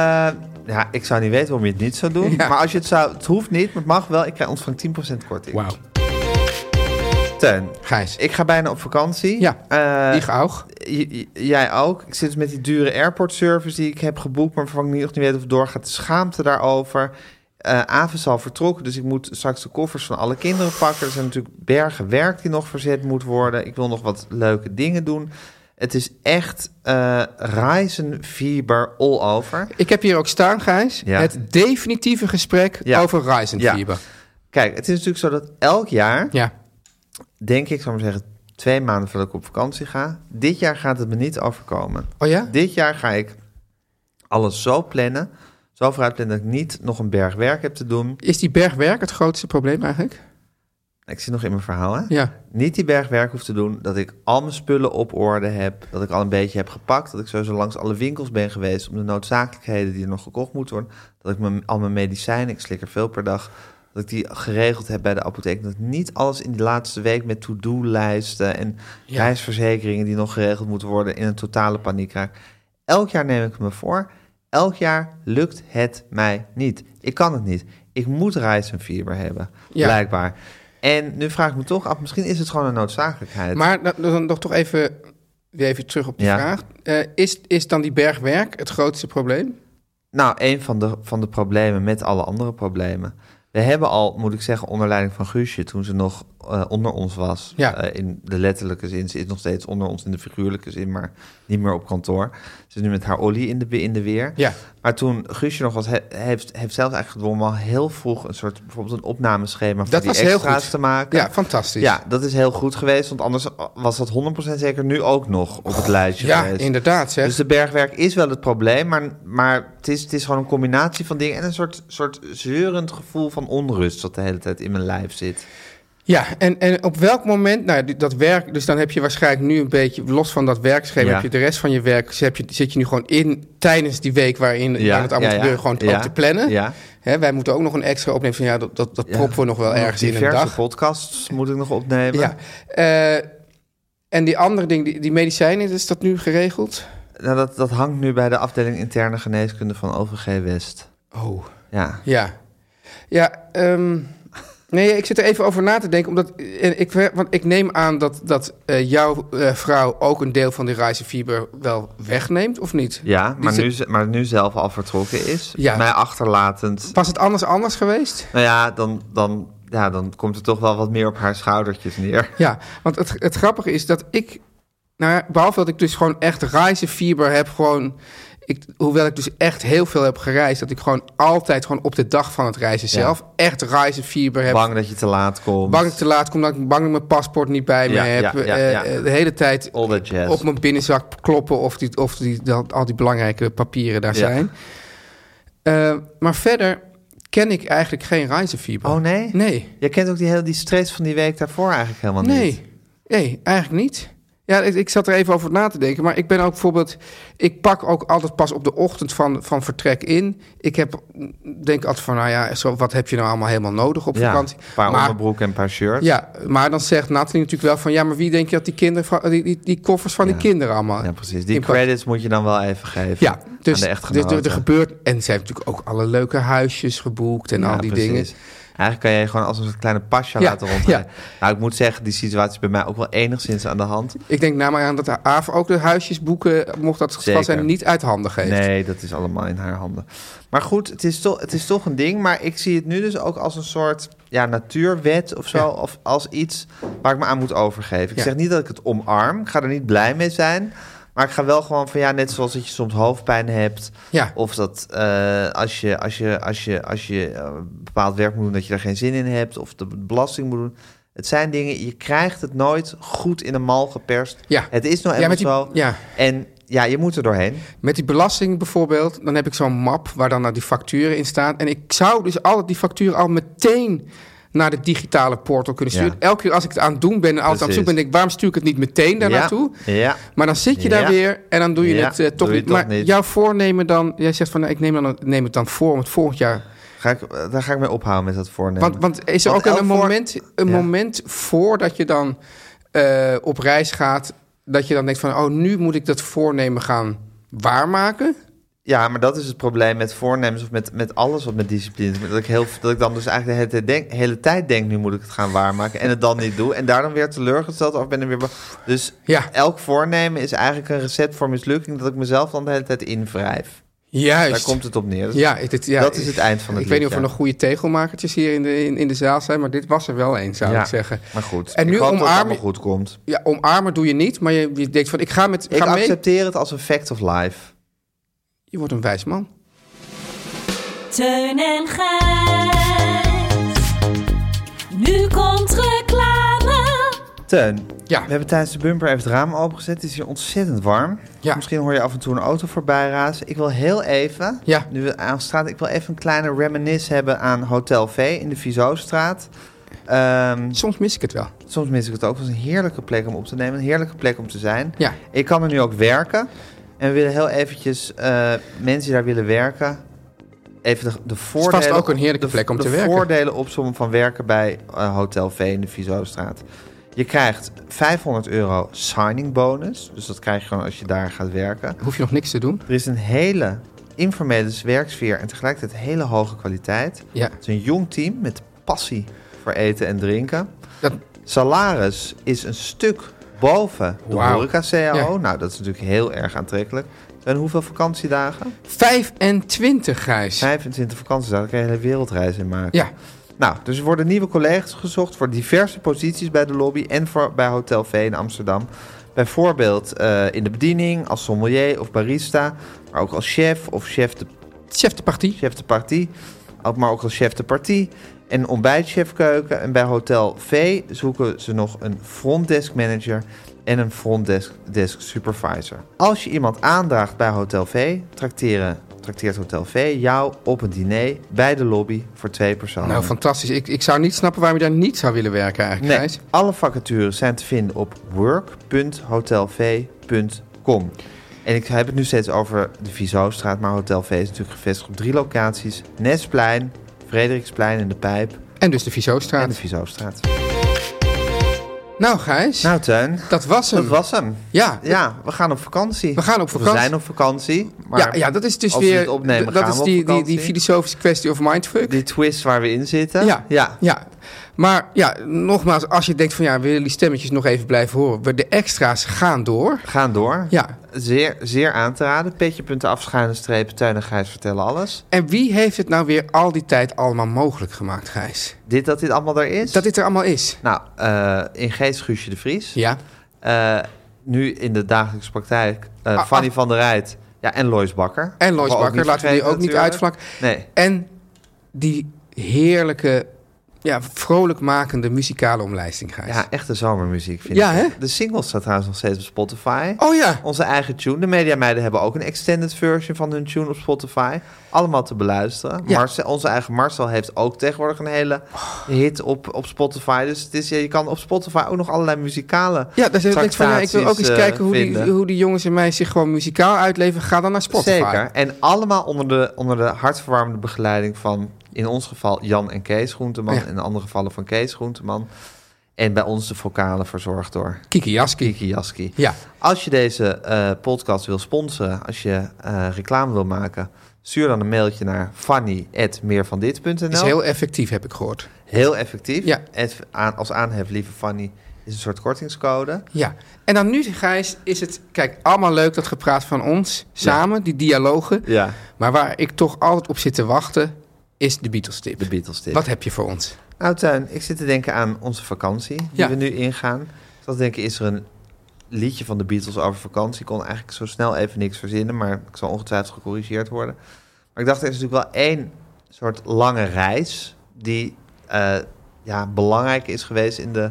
S1: ja, ik zou niet weten waarom je het niet zou doen.
S2: Ja.
S1: Maar als je het zou, het hoeft niet, maar het mag wel. Ik krijg ontvang 10% korting.
S2: Wauw.
S1: Teun,
S2: Gijs.
S1: ik ga bijna op vakantie.
S2: Ja,
S1: Eh,
S2: die gauw.
S1: J- j- jij ook. Ik zit dus met die dure airport service die ik heb geboekt, maar waarvan ik niet- nog niet weet of het doorgaat. De schaamte daarover. Eh Avis is al vertrokken, dus ik moet straks de koffers van alle kinderen pakken. Er zijn natuurlijk bergen werk die nog verzet moet worden. Ik wil nog wat leuke dingen doen. Het is echt eh reizenfieber all over.
S2: Ik heb hier ook staan, Gijs.
S1: Ja.
S2: Het definitieve gesprek
S1: Ja.
S2: over Ryzen
S1: Ja.
S2: Fieber.
S1: Kijk, het is natuurlijk zo dat elk jaar,
S2: Ja.
S1: denk ik, zou ik maar zeggen, twee maanden voordat ik op vakantie ga. Dit jaar gaat het me niet overkomen.
S2: Oh ja?
S1: Dit jaar ga ik alles zo plannen. Zo vooruit plannen dat ik niet nog een berg werk heb te doen.
S2: Is die bergwerk het grootste probleem eigenlijk?
S1: Ik zit nog in mijn verhaal, hè?
S2: Ja.
S1: Niet die berg werk hoef te doen. Dat ik al mijn spullen op orde heb. Dat ik al een beetje heb gepakt. Dat ik sowieso langs alle winkels ben geweest. Om de noodzakelijkheden die er nog gekocht moeten worden. Dat ik mijn, al mijn medicijnen, ik slik er veel per dag. dat ik die geregeld heb bij de apotheek. Dat ik niet alles in de laatste week met to-do-lijsten en
S2: Ja.
S1: reisverzekeringen die nog geregeld moeten worden in een totale paniek raak. Elk jaar neem ik me voor. Elk jaar lukt het mij niet. Ik kan het niet. Ik moet reisfever hebben,
S2: Ja.
S1: blijkbaar. En nu vraag ik me toch af, misschien is het gewoon een noodzakelijkheid.
S2: Maar da- dan nog toch even, weer even terug op de
S1: Ja.
S2: vraag. Eh, is, is dan die bergwerk het grootste probleem?
S1: Nou, een van de, van de problemen met alle andere problemen. We hebben al, moet ik zeggen, onder leiding van Guusje, toen ze nog eh, onder ons was.
S2: Ja.
S1: eh, in de letterlijke zin. Ze is nog steeds onder ons in de figuurlijke zin, maar niet meer op kantoor. Ze is nu met haar Olly in de, be- in de weer.
S2: Ja.
S1: Maar toen Guusje nog was, he- heeft, heeft zelfs eigenlijk gedwongen om al heel vroeg een soort, bijvoorbeeld een opnameschema voor
S2: Dat
S1: die
S2: was heel
S1: extra's
S2: goed.
S1: te maken.
S2: Ja, fantastisch.
S1: Ja, dat is heel goed geweest, want anders was dat 100% zeker nu ook nog op het lijstje
S2: Ja,
S1: geweest.
S2: inderdaad zeg.
S1: Dus de bergwerk is wel het probleem, maar, maar het, is, het is gewoon een combinatie van dingen en een soort, soort zeurend gevoel van onrust dat de hele tijd in mijn lijf zit.
S2: Ja, en, en op welk moment, nou, die- dat werk, dus dan heb je waarschijnlijk nu een beetje, los van dat werkschema,
S1: Ja.
S2: heb je de rest van je werk, dus heb je, zit je nu gewoon in tijdens die week waarin
S1: Ja,
S2: waarin het allemaal
S1: ja, ja,
S2: gebeurt, gewoon
S1: ja,
S2: ook te plannen.
S1: ja.
S2: Hè, wij moeten ook nog een extra opnemen van ja, dat, dat, dat proppen we nog wel ergens in een
S1: Diverse
S2: dag.
S1: podcasts moet ik nog opnemen.
S2: Ja. Eh, en die andere ding, die, die medicijnen, is dat nu geregeld?
S1: Nou, dat, dat hangt nu bij de afdeling interne geneeskunde van OVG West.
S2: Oh.
S1: Ja.
S2: Ja. Ja, ehm, nee, ik zit er even over na te denken. Omdat eh, ik, want ik neem aan dat, dat eh, jouw eh, vrouw ook een deel van die reizenfiber wel wegneemt, of niet?
S1: Ja,
S2: Die
S1: maar
S2: ze-
S1: nu, ze- maar nu zelf al vertrokken is.
S2: Ja.
S1: Mij achterlatend.
S2: Was het anders anders geweest?
S1: Nou ja dan, dan, ja, dan komt er toch wel wat meer op haar schoudertjes neer.
S2: Ja, want het, het grappige is dat ik... Nou, ja, behalve dat ik dus gewoon echt reizenfieber heb, gewoon... Ik, hoewel ik dus echt heel veel heb gereisd... dat ik gewoon altijd gewoon op de dag van het reizen
S1: Ja.
S2: zelf... echt reizenfieber heb.
S1: Bang dat je te laat komt.
S2: bang dat ik te laat kom, dat ik bang dat ik mijn paspoort niet bij me
S1: Ja,
S2: heb.
S1: ja, ja,
S2: Eh,
S1: ja.
S2: eh, De hele tijd
S1: All that jazz.
S2: op mijn binnenzak kloppen of, die, of die, dat, al die belangrijke papieren daar
S1: Ja.
S2: zijn. Eh, maar verder ken ik eigenlijk geen reizenfieber.
S1: Oh nee?
S2: Nee,
S1: Je kent ook die, hele, die stress van die week daarvoor eigenlijk helemaal niet.
S2: nee, nee, eigenlijk niet. Ja, ik, ik zat er even over na te denken. Maar ik ben ook bijvoorbeeld... Ik pak ook altijd pas op de ochtend van, van vertrek in. Ik heb, denk altijd van, nou ja, zo, wat heb je nou allemaal helemaal nodig op
S1: Ja,
S2: vakantie?
S1: een paar
S2: maar,
S1: onderbroeken en een paar shirts.
S2: Ja, maar dan zegt Nathalie natuurlijk wel van... ja, maar wie denk je dat die, kinderen, van- die, die, die koffers van
S1: Ja.
S2: die kinderen allemaal...
S1: Ja, precies. Die
S2: in pak-
S1: credits moet je dan wel even geven
S2: Ja, dus,
S1: aan de
S2: dus
S1: echtgenoten.
S2: er, er gebeurt... en ze hebben natuurlijk ook alle leuke huisjes geboekt en al die dingen.
S1: Eigenlijk kan je gewoon als een soort kleine pasja
S2: Ja,
S1: laten rondrijden. Nou, ik moet zeggen, die situatie is bij mij ook wel enigszins aan de hand.
S2: Ik denk namelijk aan dat de AAF ook de huisjes boeken... mocht dat het geval
S1: Zeker.
S2: zijn, niet uit handen geeft.
S1: Nee, dat is allemaal in haar handen. Maar goed, het is, toch, het is toch een ding. Maar ik zie het nu dus ook als een soort ja, natuurwet of zo.
S2: Ja.
S1: Of als iets waar ik me aan moet overgeven. Ik
S2: Ja.
S1: zeg niet dat ik het omarm. Ik ga er niet blij mee zijn. Maar ik ga wel gewoon van ja, net zoals dat je soms hoofdpijn hebt.
S2: Ja.
S1: Of dat eh, als je, als je, als je, als je eh, bepaald werk moet doen dat je daar geen zin in hebt. Of de belasting moet doen. Het zijn dingen, je krijgt het nooit goed in een mal geperst.
S2: Ja.
S1: Het is nou
S2: Ja,
S1: eenmaal
S2: met die-
S1: zo.
S2: ja.
S1: En ja, je moet er doorheen.
S2: Met die belasting bijvoorbeeld, dan heb ik zo'n map... waar dan nou die facturen in staan. En ik zou dus altijd die facturen al meteen naar de digitale portal kunnen
S1: Ja.
S2: sturen. Elke keer als ik het aan het doen ben en altijd aan het
S1: Precies.
S2: zoeken ben... denk ik, waarom stuur ik het niet meteen daar
S1: Ja.
S2: naartoe?
S1: Ja.
S2: Maar dan zit je daar
S1: Ja.
S2: weer en dan doe je
S1: Ja,
S2: het eh,
S1: doe
S2: toch
S1: je
S2: niet.
S1: het toch
S2: Maar
S1: niet.
S2: jouw voornemen dan... Jij zegt van, nou, ik neem, dan, neem het dan voor om het volgend jaar...
S1: Ga ik, eh, daar ga ik mee ophouden met dat voornemen.
S2: Want, want is er
S1: Want
S2: ook
S1: elk
S2: een,
S1: voor-
S2: moment, een
S1: Ja.
S2: moment voordat je dan eh, op reis gaat... dat je dan denkt van, oh, nu moet ik dat voornemen gaan waarmaken?
S1: Ja, maar dat is het probleem met voornemens of met, met alles wat met discipline is. Dat ik, heel, dat ik dan dus eigenlijk de hele tijd, denk, hele tijd denk, nu moet ik het gaan waarmaken. En het dan niet doe. En daar dan weer teleurgesteld of ben ik weer... bang. Dus
S2: Ja.
S1: elk voornemen is eigenlijk een recept voor mislukking... dat ik mezelf dan de hele tijd invrijf.
S2: Juist.
S1: Daar komt het op neer. Dus
S2: ja, het, het- ja,
S1: dat is het eind van het
S2: Ik weet niet of
S1: lied,
S2: er
S1: ja.
S2: nog goede tegelmakertjes hier in de, in, in de zaal zijn... maar dit was er wel een, zou
S1: Ja,
S2: ik zeggen.
S1: Maar goed,
S2: En
S1: en
S2: nu
S1: ik hoop dat het
S2: omarm-
S1: allemaal goed komt.
S2: Ja, omarmen doe je niet, maar je, je denkt van... ik ga met...
S1: Ik
S2: ga mee.
S1: accepteer het als een fact of life.
S2: Je wordt een wijs man.
S5: Teun en Gijs. Nu komt reclame.
S1: Teun,
S2: Ja.
S1: we hebben tijdens de bumper even het raam opengezet. Het is hier ontzettend warm.
S2: Ja.
S1: Misschien hoor je af en toe een auto voorbij razen. Ik wil heel even,
S2: Ja.
S1: nu we aan straat, ik wil even een kleine reminis hebben aan Hotel V in de Vizostraat. Ehm,
S2: Soms mis ik het wel.
S1: soms mis ik het ook. Het was een heerlijke plek om op te nemen, een heerlijke plek om te zijn.
S2: Ja.
S1: Ik kan er nu ook werken. En we willen heel eventjes eh, mensen die daar willen werken even de, de
S2: is
S1: voordelen...
S2: vast ook een heerlijke
S1: de-
S2: plek om te
S1: De
S2: werken.
S1: voordelen opzommen van werken bij eh, Hotel V in de Vizostraat. Je krijgt 500 euro signing bonus. Dus dat krijg je gewoon als je daar gaat werken.
S2: Hoef je nog niks te doen.
S1: Er is een hele informele werksfeer en tegelijkertijd hele hoge kwaliteit.
S2: Ja.
S1: Het is een jong team met passie voor eten en drinken.
S2: Dat,
S1: Salaris is een stuk boven de
S2: Wauw.
S1: horeca-CAO.
S2: Ja.
S1: Nou, dat is natuurlijk heel erg aantrekkelijk. En hoeveel vakantiedagen?
S2: 25, Gijs.
S1: 25 vakantiedagen. Daar kan je een hele wereldreis in maken.
S2: Ja,
S1: Nou, dus er worden nieuwe collega's gezocht voor diverse posities bij de lobby en voor, bij Hotel V in Amsterdam. Bijvoorbeeld eh, in de bediening, als sommelier of barista, maar ook als chef of chef de,
S2: chef de partie.
S1: chef de partie, ook- maar ook als chef de partie en ontbijtchefkeuken. En bij Hotel V zoeken ze nog een frontdesk manager en een frontdesk desk supervisor. Als je iemand aandraagt bij Hotel V, trakteren, trakteert Hotel V jou op een diner bij de lobby voor twee personen.
S2: Nou, fantastisch. Ik, ik zou niet snappen waarom je daar niet zou willen werken eigenlijk,
S1: Nee,
S2: Gijs.
S1: alle vacatures zijn te vinden op work.hotelv.com. En ik heb het nu steeds over de Vizostraat, maar Hotel V is natuurlijk gevestigd op drie locaties. Nesplein, Frederiksplein in de Pijp
S2: En dus de
S1: en
S2: Vizostraat.
S1: de Vizostraat.
S2: Nou, Gijs,
S1: Nou Teun,
S2: dat was hem.
S1: dat was hem.
S2: Ja,
S1: Ja, we gaan op vakantie.
S2: We gaan op
S1: Of
S2: vakantie.
S1: We zijn op vakantie, maar
S2: ja, ja, dat is dus
S1: als we
S2: weer...
S1: dit opnemen,
S2: dat
S1: gaan
S2: is
S1: we op
S2: die, die, die
S1: vakantie.
S2: filosofische kwestie of mindfuck.
S1: die twist waar we in zitten.
S2: Ja,
S1: ja.
S2: ja. Maar ja, nogmaals, als je denkt van ja, we willen die stemmetjes nog even blijven horen. We- De extra's gaan door.
S1: Gaan door.
S2: Ja.
S1: Zeer, zeer aan te raden. Petje.afschuine streep, Teun en Gijs vertellen alles.
S2: En wie heeft het nou weer al die tijd allemaal mogelijk gemaakt, Gijs?
S1: Dit dat dit allemaal er is.
S2: Dat dit er allemaal is.
S1: Nou, eh, in Geest Guusje de Vries.
S2: Ja.
S1: Eh, nu in de dagelijkse praktijk eh,
S2: Ah,
S1: Fanny
S2: ah.
S1: van der Rijt ja, en Lois Bakker.
S2: En
S1: Mogen
S2: Lois
S1: we ook
S2: Bakker,
S1: niet
S2: laten we die ook
S1: vergeten
S2: niet
S1: natuurlijk.
S2: uitvlakken.
S1: Nee,
S2: En die heerlijke, ja, vrolijkmakende muzikale omlijsting, Gijs.
S1: ja, echte zomermuziek vind
S2: Ja,
S1: ik.
S2: hè?
S1: De single staat trouwens nog steeds op Spotify.
S2: Oh ja.
S1: Onze eigen tune. De Media Meiden hebben ook een extended version van hun tune op Spotify. Allemaal te beluisteren.
S2: Ja.
S1: Marcel, onze eigen Marcel heeft ook tegenwoordig een hele hit op, op Spotify. Dus het is, ja, je kan op Spotify ook nog allerlei muzikale
S2: Ja, daar denk ik van, ja, ik wil ook eens
S1: tractaties, eh,
S2: kijken hoe die,
S1: vinden.
S2: hoe die jongens en meisjes zich gewoon muzikaal uitleven. Ga dan naar Spotify.
S1: Zeker. En allemaal onder de, onder de hartverwarmende begeleiding van, in ons geval, Jan en Kees Groenteman.
S2: Ja.
S1: En in andere gevallen van Kees Groenteman. En bij ons de vocalen verzorgd door
S2: Kiki Jaski.
S1: Kiki Jaski.
S2: Ja.
S1: Als je deze eh, podcast wil sponsoren, als je eh, reclame wil maken... stuur dan een mailtje naar fanny.meervandit.nl.
S2: Is heel effectief, heb ik gehoord.
S1: Heel effectief.
S2: Ja.
S1: Het aan, als aanhef, lieve Fanny, is een soort kortingscode.
S2: Ja. En dan nu, Gijs, is het, kijk, allemaal leuk dat gepraat van ons samen, die dialogen.
S1: Ja.
S2: Maar waar ik toch altijd op zit te wachten, is de Beatles tip.
S1: De Beatles tip.
S2: Wat heb je voor ons?
S1: Nou, Tuin, ik zit te denken aan onze vakantie die
S2: Ja.
S1: we nu ingaan. Ik zat te denken, is er een liedje van de Beatles over vakantie? Ik kon eigenlijk zo snel even niks verzinnen, maar ik zal ongetwijfeld gecorrigeerd worden. Maar ik dacht, er is natuurlijk wel één soort lange reis die eh, ja, belangrijk is geweest in de,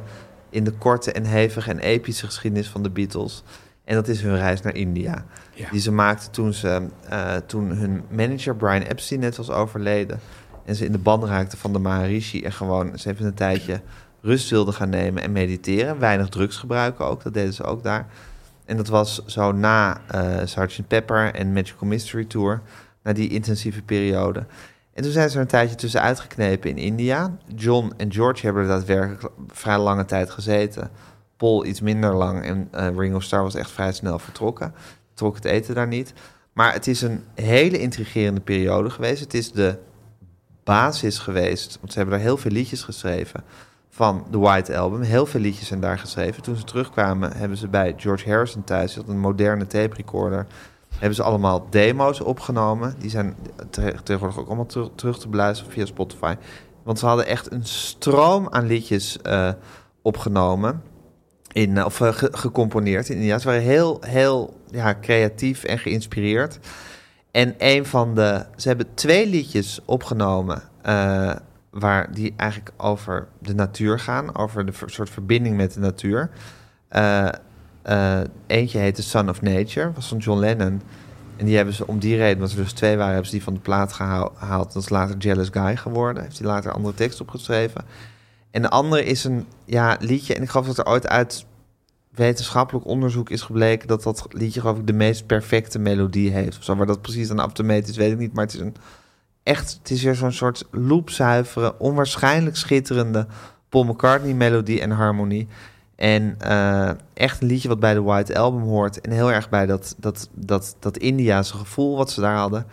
S1: in de korte en hevige en epische geschiedenis van de Beatles. En dat is hun reis naar India.
S2: Ja.
S1: Die ze maakten toen, ze, eh, toen hun manager Brian Epstein net was overleden. En ze in de band raakte van de Maharishi. En gewoon eens even een tijdje rust wilden gaan nemen en mediteren. Weinig drugs gebruiken ook, dat deden ze ook daar. En dat was zo na eh Sgt. Pepper en Magical Mystery Tour. Na die intensieve periode. En toen zijn ze er een tijdje tussen uitgeknepen in India. John en George hebben er daadwerkelijk vrij lange tijd gezeten. Paul iets minder lang en eh, Ringo Starr was echt vrij snel vertrokken. Trok het eten daar niet. Maar het is een hele intrigerende periode geweest. Het is de basis geweest, want ze hebben daar heel veel liedjes geschreven van de White Album. Heel veel liedjes zijn daar geschreven. Toen ze terugkwamen hebben ze bij George Harrison thuis, die had een moderne tape recorder, hebben ze allemaal demo's opgenomen. Die zijn te- tegenwoordig ook allemaal ter- terug te beluisteren via Spotify. Want ze hadden echt een stroom aan liedjes eh, opgenomen. In, eh, of eh, ge- gecomponeerd in India. Ze waren heel, heel ja, creatief en geïnspireerd. En een van de. Ze hebben twee liedjes opgenomen. eh, waar die eigenlijk over de natuur gaan. Over de ver- soort verbinding met de natuur. Eh, eh, eentje heet The Son of Nature. Was van John Lennon. En die hebben ze om die reden, want er dus twee waren, hebben ze die van de plaat gehaal- gehaald. Dat is later Jealous Guy geworden. Heeft hij later andere tekst opgeschreven. En de andere is een ja, liedje. En ik geloof dat er ooit uit wetenschappelijk onderzoek is gebleken dat dat liedje geloof ik de meest perfecte melodie heeft. Of zo. Waar dat precies aan af te meten is, weet ik niet. Maar het is een echt, het is weer zo'n soort loopzuivere, onwaarschijnlijk schitterende Paul McCartney-melodie en harmonie. En eh, echt een liedje wat bij de White Album hoort. En heel erg bij dat, dat, dat, dat Indiaanse gevoel wat ze daar hadden.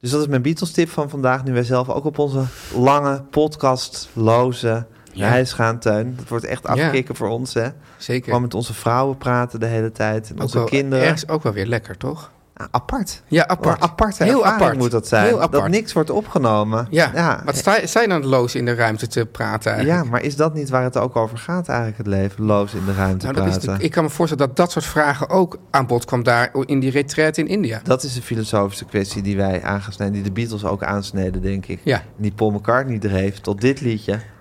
S1: Dus dat is mijn Beatles-tip van vandaag. Nu wij zelf ook op onze lange, podcastloze
S2: Ja.
S1: reis gaan, Teun. Dat wordt echt afkicken voor ons, hè?
S2: Zeker.
S1: Gewoon met onze vrouwen praten de hele tijd. En
S2: ook
S1: onze
S2: wel,
S1: kinderen.
S2: Ergens ook wel weer lekker, toch?
S1: Ah, apart.
S2: Ja, apart.
S1: Een aparte
S2: Heel
S1: ervaring
S2: apart.
S1: moet dat zijn.
S2: Heel apart.
S1: Dat niks wordt opgenomen.
S2: Ja,
S1: ja. eh,
S2: wat sta, sta je dan loos in de ruimte te praten eigenlijk?
S1: Ja, maar is dat niet waar het ook over gaat eigenlijk, het leven? Loos in de ruimte
S2: nou, dat is
S1: praten.
S2: natuurlijk- ik kan me voorstellen dat dat soort vragen ook aan bod kwam daar in die retraite in India.
S1: Dat is een filosofische kwestie die wij aangesneden, die de Beatles ook aansneden, denk ik.
S2: Ja.
S1: En die Paul McCartney dreef tot dit liedje,